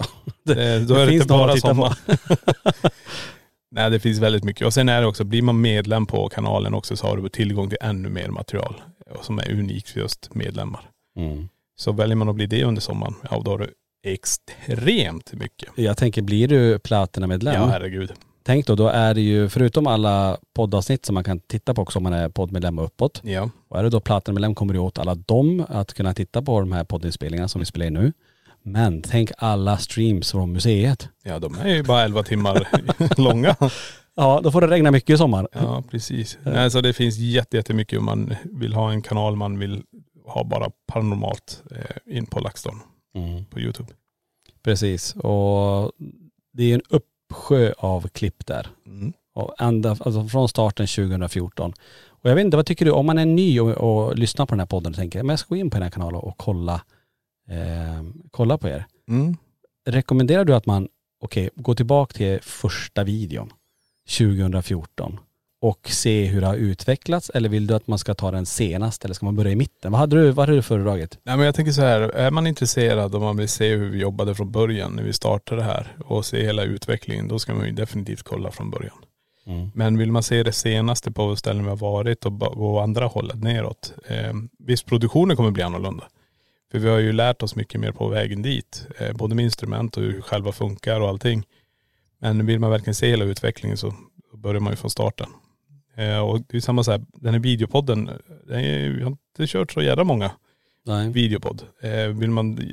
Speaker 3: Eh, då är det
Speaker 2: finns
Speaker 3: inte
Speaker 2: några
Speaker 3: bara
Speaker 2: att titta på.
Speaker 3: sommar. Nej det finns väldigt mycket. Och sen är det också, blir man medlem på kanalen också så har du tillgång till ännu mer material eh, som är unikt för just medlemmar.
Speaker 2: Mm.
Speaker 3: Så väljer man att bli det under sommaren, ja då har du extremt mycket.
Speaker 2: Jag tänker, blir du
Speaker 3: Ja
Speaker 2: Platina-medlem?
Speaker 3: herregud.
Speaker 2: Tänk då, då är det ju förutom alla poddavsnitt som man kan titta på också om man är poddmedlem och uppåt.
Speaker 3: Ja.
Speaker 2: Och är du då platinamedlem kommer du åt alla dem att kunna titta på de här poddinspelningarna som vi spelar in nu. Men tänk alla streams från museet.
Speaker 3: ja, de är ju bara 11 timmar långa.
Speaker 2: Ja, då får det regna mycket i sommar.
Speaker 3: Ja precis. Nej, så det finns jätte- jättemycket om man vill ha en kanal man vill ha bara paranormalt eh, in på LaxTon
Speaker 2: Mm.
Speaker 3: på Youtube.
Speaker 2: Precis, och det är en uppsjö av klipp där.
Speaker 3: Mm.
Speaker 2: Och ända, alltså från starten 2014. Och jag vet inte, vad tycker du om man är ny och, och lyssnar på den här podden och tänker, men jag ska gå in på den här kanalen och kolla, eh, kolla på er.
Speaker 3: Mm.
Speaker 2: rekommenderar du att man, okej, gå tillbaka till första videon 2014 och se hur det har utvecklats eller vill du att man ska ta den senast eller ska man börja i mitten? Vad hade du, vad hade du föredragit?
Speaker 3: Nej, men jag tänker så här, är man intresserad och man vill se hur vi jobbade från början när vi startade här och se hela utvecklingen, då ska man ju definitivt kolla från början. Men vill man se det senaste på ställen vi har varit och ba- gå andra hållet neråt, eh, visst produktionen kommer bli annorlunda. För vi har ju lärt oss mycket mer på vägen dit, eh, både med instrument och hur själva funkar och allting. Men vill man verkligen se hela utvecklingen så börjar man ju från starten. Eh, och det är ju samma så här, den här videopodden, eh, den är, ju- vi har inte kört så jävla många
Speaker 2: Nej.
Speaker 3: videopodd. Eh, vill man eh,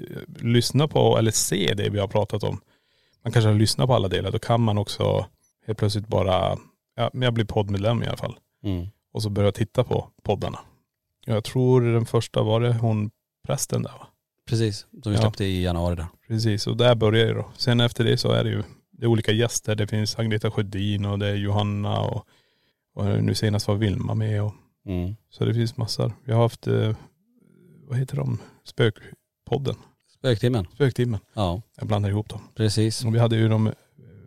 Speaker 3: lyssna på eller se det vi har pratat om, man kanske har lyssnat på alla delar, då kan man också helt plötsligt bara, ja men jag blir poddmedlem i alla fall.
Speaker 2: Mm.
Speaker 3: Och så börja titta på poddarna. Jag tror den första var det hon prästen där va?
Speaker 2: Precis, som vi
Speaker 3: Ja.
Speaker 2: släppte i januari där.
Speaker 3: Precis, och där börjar det då. Sen efter det så är det ju, det är olika gäster, det finns Agneta Sjödin och det är Johanna och, och nu senast var Vilma med och
Speaker 2: Mm.
Speaker 3: så det finns massor. Vi har haft, eh, vad heter de, Spökpodden,
Speaker 2: Spöktimmen.
Speaker 3: Spöktimmen.
Speaker 2: Ja,
Speaker 3: Jag blandar ihop dem.
Speaker 2: precis.
Speaker 3: Och vi hade ju de eh,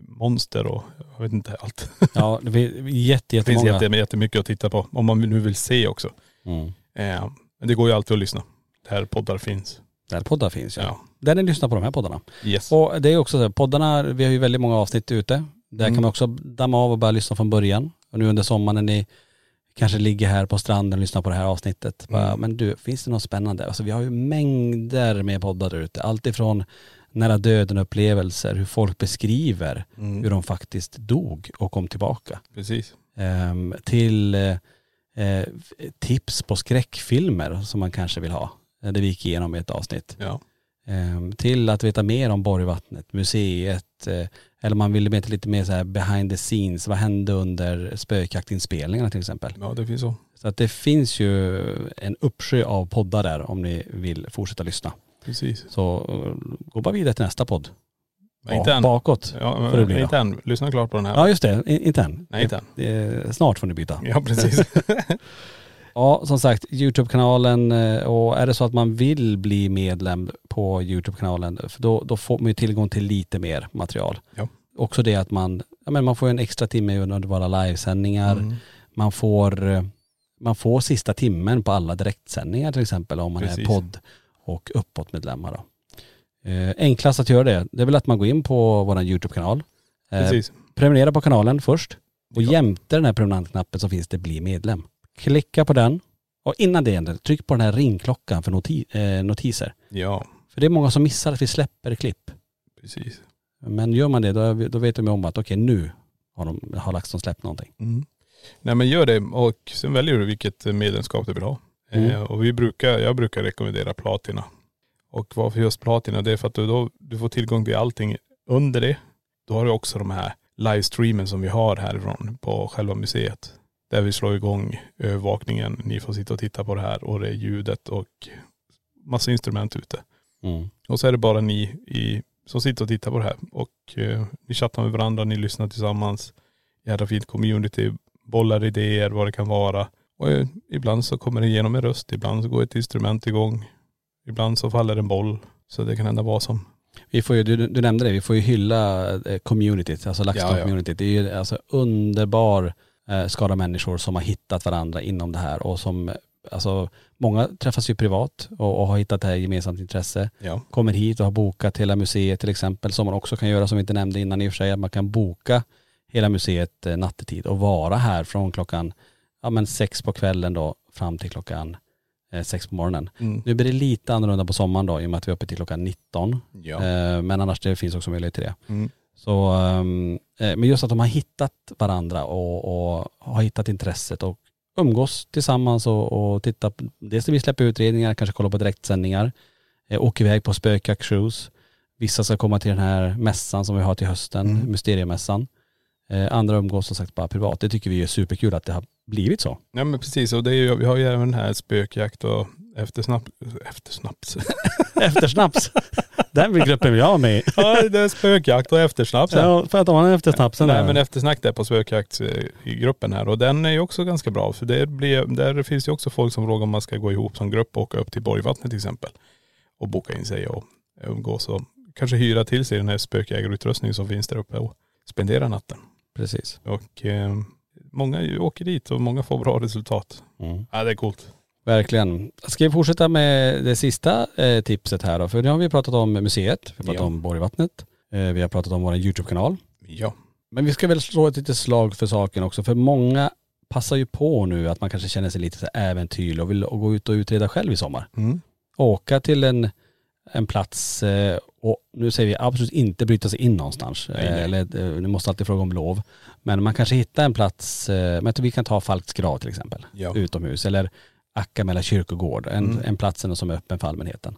Speaker 3: monster och jag vet inte allt.
Speaker 2: Ja, det finns jätte,
Speaker 3: Det finns
Speaker 2: jättemånga.
Speaker 3: jätte, jättemycket att titta på om man nu vill se också.
Speaker 2: Mm.
Speaker 3: Eh, men det går ju alltid att lyssna. Där poddar finns.
Speaker 2: Där poddar finns ja.
Speaker 3: Ja.
Speaker 2: Där ni lyssnar på de här poddarna.
Speaker 3: Yes.
Speaker 2: Och det är också så, här, poddarna, vi har ju väldigt många avsnitt ute. Där
Speaker 3: Mm.
Speaker 2: kan man också damma av och börja lyssna från början. Och nu under sommaren när ni kanske ligger här på stranden och lyssnar på det här avsnittet. Bara,
Speaker 3: Mm.
Speaker 2: Men du, finns det något spännande? Alltså vi har ju mängder med poddar där ute. Allt ifrån nära döden upplevelser, hur folk beskriver
Speaker 3: Mm.
Speaker 2: hur de faktiskt dog och kom tillbaka.
Speaker 3: Precis.
Speaker 2: Ehm, till eh, eh, tips på skräckfilmer som man kanske vill ha. Eh, Det vi gick igenom i ett avsnitt.
Speaker 3: Ja.
Speaker 2: Ehm, till att veta mer om Borgvattnet, museet, eh, eller man ville veta lite mer så här behind the scenes, vad hände under spökjaktinspelningarna till exempel.
Speaker 3: ja, det finns så.
Speaker 2: Så att det finns ju en uppsjö av poddar där om ni vill fortsätta lyssna.
Speaker 3: Precis.
Speaker 2: Så eh, gå bara vidare till nästa podd.
Speaker 3: Men inte än.
Speaker 2: Bakåt
Speaker 3: Ja,
Speaker 2: får det
Speaker 3: men,
Speaker 2: bli då.
Speaker 3: inte än. Lyssna klart på den här.
Speaker 2: Ja just det, I- inte än.
Speaker 3: Nej, inte än. Mm.
Speaker 2: Eh, Snart får ni byta.
Speaker 3: Ja, precis.
Speaker 2: Ja, som sagt, Youtube-kanalen eh, och är det så att man vill bli medlem på Youtube-kanalen, för då, då får man ju tillgång till lite mer material.
Speaker 3: Ja.
Speaker 2: Också det att man, ja, men man får ju en extra timme under våra livesändningar.
Speaker 3: Mm.
Speaker 2: Man, får, eh, man får sista timmen på alla direktsändningar till exempel om man är
Speaker 3: Precis.
Speaker 2: podd och uppåtmedlemmar. Då. Eh, enklast att göra det, det är väl att man går in på vår Youtube-kanal, eh,
Speaker 3: Precis.
Speaker 2: prenumerera på kanalen först och
Speaker 3: Ja.
Speaker 2: jämte den här prenumerantknappen så finns det bli medlem. Klicka på den och innan det händer, tryck på den här ringklockan för noti- eh, notiser.
Speaker 3: Ja,
Speaker 2: För det är många som missar att vi släpper klipp.
Speaker 3: precis.
Speaker 2: Men gör man det då, då vet de ju om att okej nu har, de, har LaxTon släppt någonting.
Speaker 3: Mm. Nej men gör det och sen väljer du vilket medlemskap du vill ha.
Speaker 2: Mm.
Speaker 3: Eh, och vi brukar, jag brukar rekommendera Platina. Och varför just Platina? Det är för att du, då, du får tillgång till allting under det. Då har du också de här livestreamen som vi har härifrån på själva museet. Där vi slår igång övervakningen. Ni får sitta och titta på det här och det är ljudet och massa instrument ute.
Speaker 2: Mm.
Speaker 3: Och så är det bara ni i, som sitter och tittar på det här. Och eh, ni chattar med varandra, ni lyssnar tillsammans. Jävla fint community, bollar idéer, vad det kan vara. Och eh, ibland så kommer det igenom en röst, ibland så går ett instrument igång. Ibland så faller en boll. Så det kan hända vad som.
Speaker 2: Vi får ju, du, du nämnde det, vi får ju hylla eh, communityt, alltså LaxTon
Speaker 3: Ja, ja.
Speaker 2: communityt. Det är ju alltså underbar eh, skara människor som har hittat varandra inom det här och som, alltså många träffas ju privat och, och har hittat det här gemensamt intresse.
Speaker 3: Ja.
Speaker 2: kommer hit och har bokat hela museet till exempel, som man också kan göra som vi inte nämnde innan i och för sig, att man kan boka hela museet eh, nattetid och vara här från klockan ja, men sex på kvällen då fram till klockan eh, sex på morgonen.
Speaker 3: Mm.
Speaker 2: Nu blir det lite annorlunda på sommaren då i och med att vi är uppe till klockan 19.
Speaker 3: Ja.
Speaker 2: Eh, men annars det finns också möjlighet till det.
Speaker 3: Mm.
Speaker 2: Så, ehm, eh, men just att de har hittat varandra och, och har hittat intresset och umgås tillsammans och, och titta, på- dels när vi släpper utredningar, kanske kolla på direktsändningar, eh, åker iväg på spökjakt cruise. Vissa ska komma till den här mässan som vi har till hösten,
Speaker 3: Mm.
Speaker 2: mysteriemässan. Eh, andra umgås som sagt bara privat. Det tycker vi är superkul att det har blivit så.
Speaker 3: Nej men precis, och det är ju, vi har ju även den här spökjakt och eftersnaps. Eftersnaps.
Speaker 2: Eftersnaps, den gruppen vill jag vara med i.
Speaker 3: ja det är spökjakt och eftersnaps. här.
Speaker 2: Ja, för att ha en eftersnaps.
Speaker 3: Nej men eftersnack där på spökjakt eh, i gruppen här och den är ju också ganska bra för det blir, där finns ju också folk som frågar om man ska gå ihop som grupp och åka upp till Borgvattnet till exempel och boka in sig och umgås och kanske hyra till sig den här spökjägarutrustningen som finns där uppe och spendera natten.
Speaker 2: Precis.
Speaker 3: Och eh, många ju åker dit och många får bra resultat.
Speaker 2: Mm.
Speaker 3: Ja det är coolt.
Speaker 2: Verkligen. Ska vi fortsätta med det sista eh, tipset här då? För nu har vi pratat om museet, vi har pratat
Speaker 3: Ja.
Speaker 2: om Borgvattnet, eh, vi har pratat om vår YouTube-kanal.
Speaker 3: Ja.
Speaker 2: Men vi ska väl slå ett litet slag för saken också, för många passar ju på nu att man kanske känner sig lite så här äventyrlig och vill gå ut och utreda själv i sommar.
Speaker 3: Mm.
Speaker 2: Åka till en, en plats eh, och nu säger vi absolut inte bryta sig in någonstans.
Speaker 3: Nej, nej.
Speaker 2: Eh, Eller, eh, ni måste alltid fråga om lov. Men man kanske hittar en plats, eh, men vi kan ta Falks grav till exempel
Speaker 3: Ja.
Speaker 2: utomhus eller Ackamela kyrkogård, en,
Speaker 3: Mm.
Speaker 2: en platsen som är öppen för allmänheten.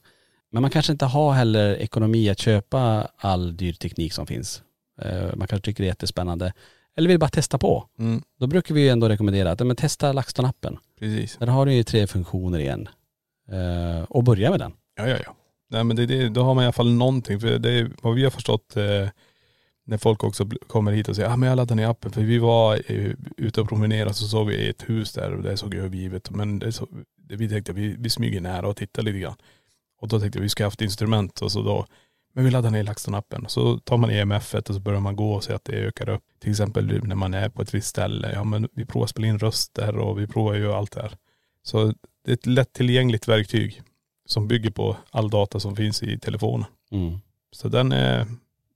Speaker 2: Men man kanske inte har heller ekonomi att köpa all dyr teknik som finns. Eh, Man kanske tycker det är jättespännande eller vill bara testa på.
Speaker 3: Mm.
Speaker 2: Då brukar vi ju ändå rekommendera att ja, men testa LaxTon-appen.
Speaker 3: Precis.
Speaker 2: Där har du ju tre funktioner igen. Eh, Och börja med den.
Speaker 3: Ja, ja, ja. Nej men det, det, då har man i alla fall någonting. För det är vad vi har förstått eh, när folk också bl- kommer hit och säger, ah, men jag laddar ner appen. För vi var eh, ute och promenerade så såg vi ett hus där och det såg övergivet. Men det så, det, vi tänkte vi, vi smyger nära och tittar lite grann. Och då tänkte vi, vi ska ha haft instrument och så då, men vi laddar ner LaxTon-appen. Så tar man EMF et och så börjar man gå och ser att det ökar upp. Till exempel när man är på ett visst ställe, ja men vi provar att spela in röster och vi provar ju allt det här. Så det är ett lättillgängligt verktyg som bygger på all data som finns i telefonen.
Speaker 2: Mm.
Speaker 3: Så den eh,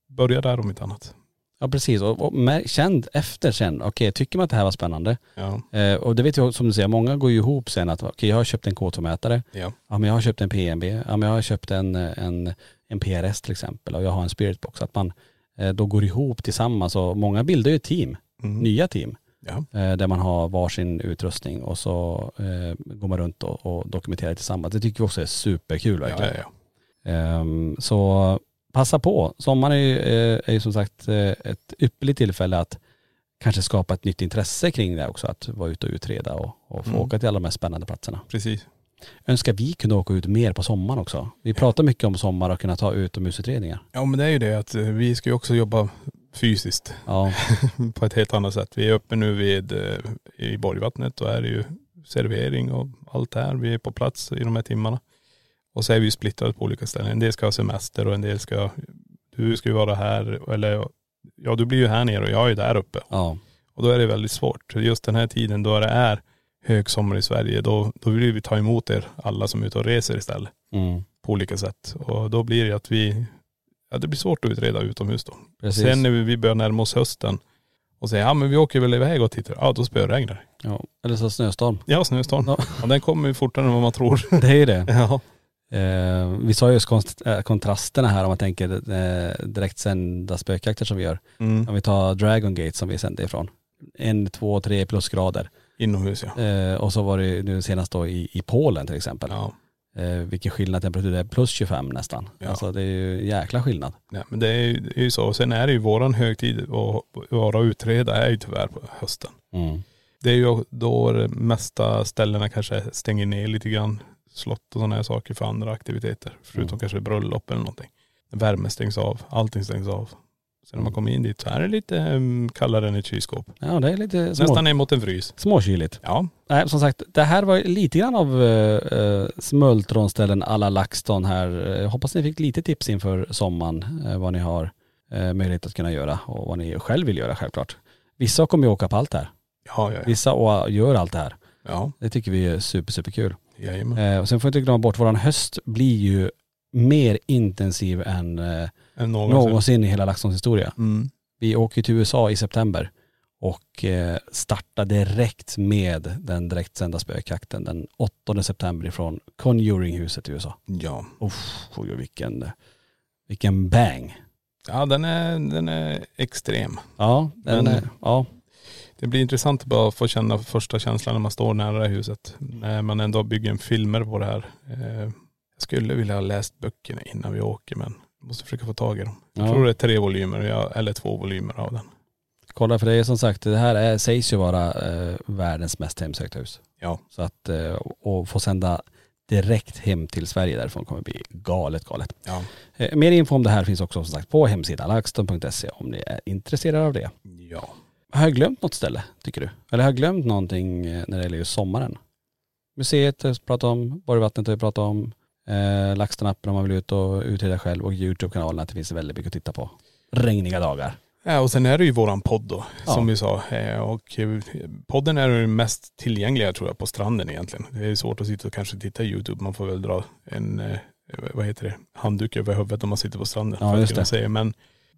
Speaker 3: börjar där om inte annat.
Speaker 2: Ja precis, och, och mär- känd efter sen, okej tycker man att det här var spännande?
Speaker 3: Ja.
Speaker 2: Eh, och det vet jag som du säger, många går ju ihop sen att okej jag har köpt en K2-mätare,
Speaker 3: Ja.
Speaker 2: ja men jag har köpt en PNB, ja men jag har köpt en, eh, en, en PRS till exempel och jag har en Spiritbox. Att man eh, då går ihop tillsammans och många bildar ju team,
Speaker 3: Mm.
Speaker 2: nya team,
Speaker 3: Ja.
Speaker 2: eh, där man har varsin utrustning och så eh, går man runt och, och dokumenterar tillsammans. Det tycker vi också är superkul
Speaker 3: Ja,
Speaker 2: verkligen.
Speaker 3: ja, ja.
Speaker 2: Ehm, så passa på. Sommaren är ju, eh, är ju som sagt eh, ett ypperligt tillfälle att kanske skapa ett nytt intresse kring det också. Att vara ute och utreda och, och få
Speaker 3: Mm.
Speaker 2: åka till alla de här spännande platserna.
Speaker 3: Precis.
Speaker 2: Önskar vi kunde åka ut mer på sommaren också. Vi pratar mycket om sommar och kunna ta utomhusutredningar.
Speaker 3: Ja men det är ju det att eh, vi ska ju också jobba fysiskt
Speaker 2: Ja,
Speaker 3: på ett helt annat sätt. Vi är uppe nu vid, eh, i Borgvattnet och är det ju servering och allt det här. Vi är på plats i de här timmarna. Och så är vi ju splittrade på olika ställen. En del ska ha semester och en del ska, du ska ju vara här eller ja du blir ju här nere och jag är ju där uppe.
Speaker 2: ja,
Speaker 3: Och då är det väldigt svårt. Just den här tiden då det är högsommar i Sverige, då, då vill vi ta emot er alla som är ute och reser istället
Speaker 2: mm,
Speaker 3: på olika sätt. Och då blir det att vi, ja det blir svårt att utreda utomhus då.
Speaker 2: precis.
Speaker 3: Sen när vi vi börjar närma oss hösten och säger, ja men vi åker väl iväg och tittar, ja då spöregnar det.
Speaker 2: ja. Eller så snöstorm.
Speaker 3: Ja snöstorm.
Speaker 2: Ja.
Speaker 3: Ja. den kommer ju fortare än vad man tror.
Speaker 2: Det är ju det.
Speaker 3: ja.
Speaker 2: Eh, vi sa just konst, eh, kontrasterna här om man tänker eh, direkt sända spökjakter som vi gör. Om
Speaker 3: Mm.
Speaker 2: vi tar Dragon Gate som vi sände ifrån. En, två, tre plusgrader.
Speaker 3: Inomhus ja.
Speaker 2: Eh, och så var det ju nu senast då i, i Polen till exempel.
Speaker 3: Ja.
Speaker 2: Eh, vilken skillnad temperatur det är, plus 25 nästan.
Speaker 3: Ja.
Speaker 2: Alltså det är ju en jäkla skillnad.
Speaker 3: Nej, men det är, ju, det är ju så. Sen är det ju våran högtid och vara och utreda är ju tyvärr på hösten. Det är ju då det mesta ställena kanske stänger ner lite grann. Slott och sådana här saker för andra aktiviteter. Förutom
Speaker 2: Mm.
Speaker 3: kanske bröllop eller någonting. Värme stängs av, allting stängs av. Sen när man kommer in dit så är det lite um, kallare än ett kylskåp.
Speaker 2: Ja det är lite små,
Speaker 3: Nästan emot en frys.
Speaker 2: småkyligt.
Speaker 3: Ja,
Speaker 2: Nej som sagt, det här var ju lite grann av eh, eh, smultronställen alla LaxTon här. Eh, Jag hoppas ni fick lite tips inför sommaren eh, vad ni har eh, möjlighet att kunna göra och vad ni själv vill göra självklart. Vissa kommer ju åka på allt det här.
Speaker 3: ja, ja. ja.
Speaker 2: Vissa å- gör allt det här.
Speaker 3: Ja,
Speaker 2: Det tycker vi är super, superkul.
Speaker 3: jajamän.
Speaker 2: Eh, och sen får vi inte glömma bort, våran höst blir ju mer intensiv än eh,
Speaker 3: Än någonsin.
Speaker 2: någonsin i hela LaxTons historia.
Speaker 3: Mm.
Speaker 2: Vi åker till USA i september och eh, startar direkt med den direktsända spökjakten den 8 september ifrån Conjuring-huset i USA.
Speaker 3: Ja.
Speaker 2: Uff, oj, oj, vilken, vilken bang.
Speaker 3: Ja den är, den är extrem.
Speaker 2: Ja, den,
Speaker 3: Men-
Speaker 2: eh, ja,
Speaker 3: Det blir intressant att bara få känna första känslan när man står nära det här huset. När man ändå bygger filmer på det här. Eh, Jag skulle vilja ha läst böckerna innan vi åker men måste försöka få tag i dem. Jag
Speaker 2: Ja.
Speaker 3: tror det är tre volymer, ja, eller två volymer av den.
Speaker 2: kolla för det är som sagt, det här är, sägs ju vara eh, världens mest hemsökta hus.
Speaker 3: Ja.
Speaker 2: Så att, eh, och få sända direkt hem till Sverige därifrån kommer bli galet, galet.
Speaker 3: Ja.
Speaker 2: Eh, Mer info om det här finns också som sagt på hemsidan laxton.se om ni är intresserade av det.
Speaker 3: Ja.
Speaker 2: Har jag glömt något ställe tycker du? Eller har jag glömt någonting eh, när det gäller just sommaren? Museet har vi pratat om, Borgvattnet har vi pratat om, eh, LaxTon-appen om man vill ut och utreda själv och Youtube-kanalen att det finns väldigt mycket att titta på. Regniga dagar.
Speaker 3: Ja och sen är det ju våran podd då,
Speaker 2: Ja.
Speaker 3: som vi sa. Eh, Och eh, podden är ju den mest tillgängliga tror jag på stranden egentligen. Det är svårt att sitta och kanske titta i YouTube. Man får väl dra en, eh, vad heter det, handduk över huvudet om man sitter på stranden.
Speaker 2: Ja,
Speaker 3: för att
Speaker 2: just
Speaker 3: kunna
Speaker 2: det. Mm.
Speaker 3: Säga. Men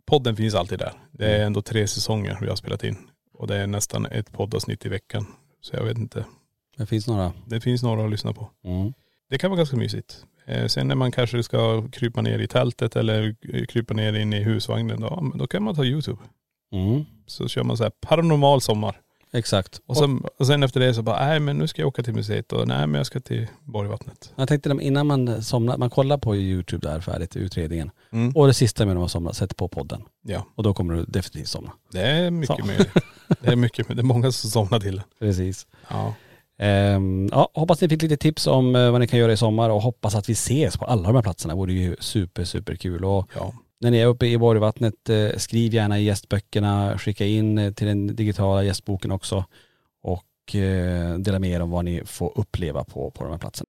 Speaker 3: podden finns alltid där. Det är ändå tre säsonger vi har spelat in. Och det är nästan ett poddavsnitt i veckan. Så jag vet inte.
Speaker 2: Det finns några.
Speaker 3: Det finns några att lyssna på.
Speaker 2: Mm.
Speaker 3: Det kan vara ganska mysigt. Eh, Sen när man kanske ska krypa ner i tältet eller eh, krypa ner in i husvagnen, då, ja, men då kan man ta YouTube
Speaker 2: Mm.
Speaker 3: så kör man så här paranormal sommar.
Speaker 2: Exakt.
Speaker 3: Och sen, och sen efter det så bara, nej men nu ska jag åka till museet och nej men jag ska till Borgvattnet.
Speaker 2: Jag tänkte dem innan man eh, somnar, man kollar på Youtube där färdigt, utredningen.
Speaker 3: Mm.
Speaker 2: Och det sista med när man somnar, sätter på podden.
Speaker 3: Ja,
Speaker 2: Och då kommer du definitivt somna.
Speaker 3: det är mycket
Speaker 2: Så.
Speaker 3: möjligt. Det är mycket, det är många som somnar till det.
Speaker 2: Precis.
Speaker 3: Ja.
Speaker 2: Ehm, ja, hoppas ni fick lite tips om eh, vad ni kan göra i sommar och hoppas att vi ses på alla de här platserna. Det vore ju super, super kul. Och
Speaker 3: ja.
Speaker 2: när ni är uppe i Borgvattnet, eh, skriv gärna i gästböckerna, skicka in eh, till den digitala gästboken också och eh, dela med er om vad ni får uppleva på, på de här platserna.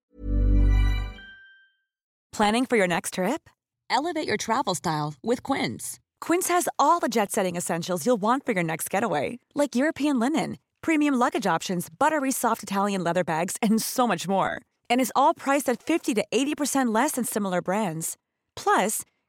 Speaker 4: Planning for your next trip?
Speaker 5: Elevate your travel style with Quince.
Speaker 4: Quince has all the jet setting essentials you'll want for your next getaway, like European linen, premium luggage options, buttery soft Italian leather bags, and so much more. And is all priced at 50 to 80% less than similar brands. Plus,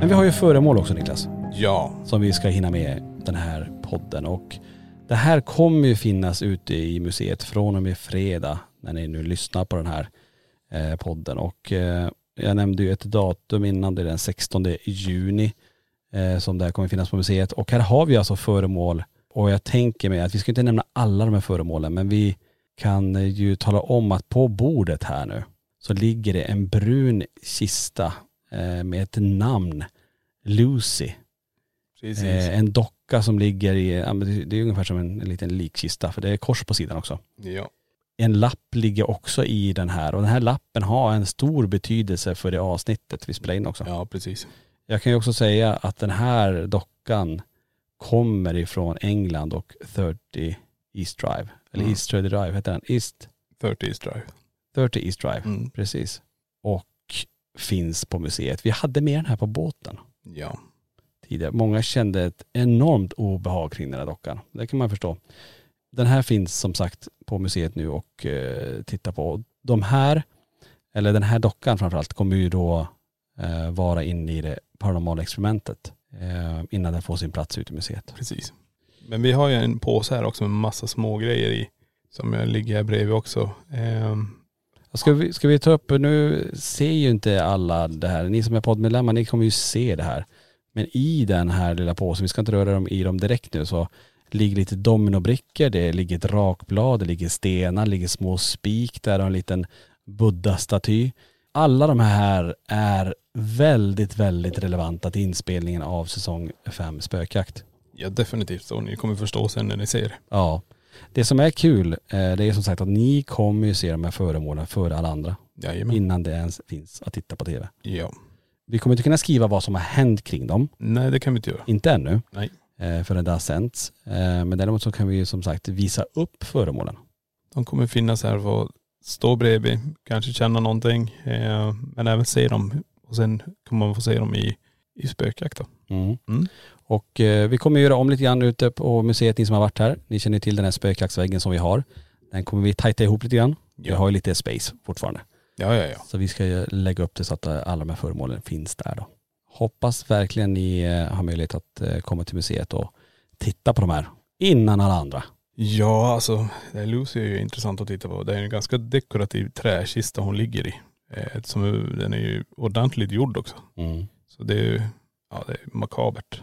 Speaker 2: Men vi har ju föremål också Niklas.
Speaker 3: Ja.
Speaker 2: Som vi ska hinna med den här podden. Och det här kommer ju finnas ute i museet från och med fredag när ni nu lyssnar på den här eh, podden. Och eh, jag nämnde ju ett datum innan, det är den 16 juni eh, som det här kommer finnas på museet. Och här har vi alltså föremål och jag tänker mig att vi ska inte nämna alla de här föremålen men vi kan eh, ju tala om att på bordet här nu så ligger det en brun kista eh, med ett namn, Lucy.
Speaker 3: Precis.
Speaker 2: Eh, en docka som ligger i, ja, men det- det är ungefär som en, en liten likkista för det är kors på sidan också.
Speaker 3: Ja.
Speaker 2: En lapp ligger också i den här och den här lappen har en stor betydelse för det avsnittet vi spelar in också.
Speaker 3: ja, precis.
Speaker 2: Jag kan ju också säga att den här dockan kommer ifrån England och 30 East Drive. Eller
Speaker 3: Mm.
Speaker 2: East 30 Drive heter den. East
Speaker 3: 30 is drive.
Speaker 2: 30 East Drive.
Speaker 3: Mm.
Speaker 2: Precis. Och finns på museet. Vi hade med den här på båten
Speaker 3: Ja.
Speaker 2: tidigare. Många kände ett enormt obehag kring den här dockan. Det kan man förstå. Den här finns som sagt på museet nu och eh, titta på. De här, eller den här dockan framförallt, kommer ju då eh, vara inne i det paranormala experimentet eh, innan den får sin plats ute i museet.
Speaker 3: Precis. Men vi har ju en påse här också med massa små grejer i. Som jag ligger här bredvid också. Ehm,
Speaker 2: Ska vi, ska vi ta upp, nu ser ju inte alla det här, ni som är poddmedlemmar ni kommer ju se det här. Men i den här lilla påsen, vi ska inte röra dem i dem direkt nu, så ligger lite dominobrickor, det ligger ett rakblad, det ligger stenar, det ligger små spik där och en liten buddha-staty. Alla de här är väldigt, väldigt relevanta till inspelningen av säsong 5 spökjakt.
Speaker 3: ja definitivt så. Ni kommer förstå sen när ni ser det.
Speaker 2: Ja. Det som är kul, eh, det är som sagt att ni kommer ju se de här föremålen före alla andra
Speaker 3: Jajamän.
Speaker 2: innan det ens finns att titta på tv.
Speaker 3: Ja.
Speaker 2: Vi kommer inte kunna skriva vad som har hänt kring dem,
Speaker 3: Nej det kan vi inte göra.
Speaker 2: inte ännu,
Speaker 3: Nej.
Speaker 2: eh, förrän det har sänts. Eh, Men däremot så kan vi ju som sagt visa upp föremålen.
Speaker 3: De kommer finnas här för att stå bredvid. Kanske känna någonting. eh, men även se dem. Och sen kommer man få se dem i, i spökjakt då. Mm.
Speaker 2: Och eh, vi kommer göra om lite grann ute på museet, ni som har varit här. Ni känner ju till den här spökjaktsväggen som vi har. Den kommer vi tajta ihop lite grann. Vi
Speaker 3: Ja.
Speaker 2: har ju lite space fortfarande.
Speaker 3: Ja ja ja.
Speaker 2: Så vi ska ju lägga upp det så att eh, alla de här föremålen finns där då. Hoppas verkligen ni eh, har möjlighet att eh, komma till museet och titta på de här innan alla andra.
Speaker 3: Ja alltså. Det här Lucy är ju intressant att titta på. Det är en ganska dekorativ träkista hon ligger i. Eh, som, är- den är ju ordentligt gjord också. Så det är ju, ja det är makabert.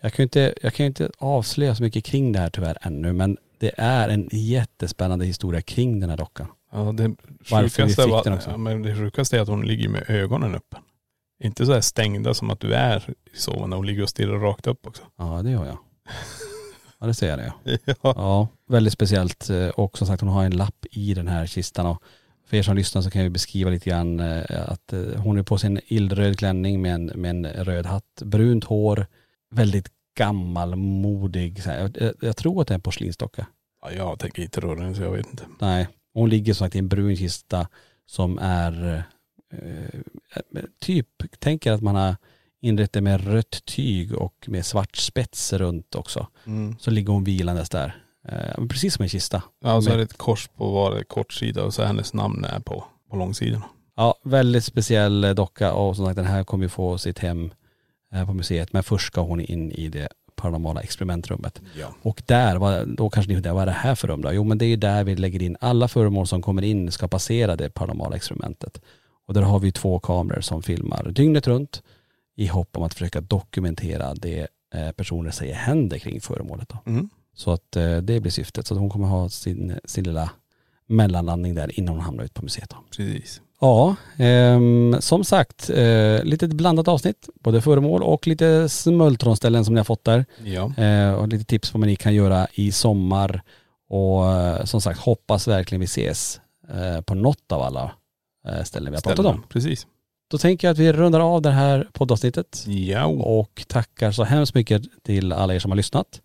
Speaker 2: Jag kan ju inte, jag kan ju inte avslöja så mycket kring det här tyvärr ännu, men det är en jättespännande historia kring den här dockan.
Speaker 3: Ja, det
Speaker 2: Varför vi
Speaker 3: sjukaste
Speaker 2: fick
Speaker 3: var-
Speaker 2: den också.
Speaker 3: Ja, men det sjukaste är att hon ligger med ögonen öppen. Inte så här stängda som att du är i sovande. Hon ligger och stirrar rakt upp också.
Speaker 2: Ja, det gör jag. Ja det ser jag det.
Speaker 3: ja.
Speaker 2: Ja, väldigt speciellt. Eh, Och som sagt hon har en lapp i den här kistan. Och för er som lyssnar så kan jag beskriva lite grann eh, att eh, hon är på sin illröd klänning med en, med en röd hatt, brunt hår, väldigt gammalmodig. Så här, jag- Jag, jag tror att det är en porslinsdocka.
Speaker 3: Ja, jag tänker inte röra den så jag vet inte.
Speaker 2: Nej, hon ligger som sagt i en brun kista som är eh, typ, tänker att man har inrett det med rött tyg och med svart spets runt också. Så ligger hon vilandes där. Eh, men precis som en kista.
Speaker 3: Ja, och så är det ett kors på var kortsida och så är hennes namn är på, på långsidan.
Speaker 2: Ja, väldigt speciell eh, docka och som sagt den här kommer ju få sitt hem eh, på museet. Men först ska hon in i det paranormala experimentrummet.
Speaker 3: Ja.
Speaker 2: Och där, vad- då kanske ni undrar, vad är det här för rum då? Jo men det är ju där vi lägger in alla föremål som kommer in ska passera det paranormala experimentet. Och där har vi två kameror som filmar dygnet runt i hopp om att försöka dokumentera det eh, personer säger händer kring föremålet. Då.
Speaker 3: Mm.
Speaker 2: Så att eh, det blir syftet. Så att hon kommer ha sin, sin lilla mellanlandning där innan hon hamnar ut på museet. Då.
Speaker 3: Precis.
Speaker 2: Ja, ehm, som sagt, eh, lite ett blandat avsnitt. Både föremål och lite smultronställen som ni har fått där.
Speaker 3: Ja.
Speaker 2: Eh, och lite tips på vad ni kan göra i sommar. Och eh, som sagt, hoppas verkligen vi ses eh, på något av alla eh, ställen vi har pratat om.
Speaker 3: Precis.
Speaker 2: Då tänker jag att vi rundar av det här poddavsnittet.
Speaker 3: Ja.
Speaker 2: Och tackar så hemskt mycket till alla er som har lyssnat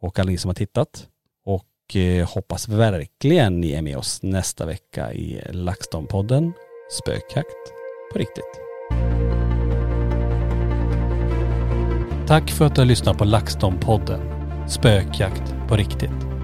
Speaker 2: och alla ni som har tittat. Och eh, hoppas verkligen ni är med oss nästa vecka i LaxTon-podden Spökjakt på riktigt. Tack för att du har lyssnat på LaxTon-podden Spökjakt på riktigt.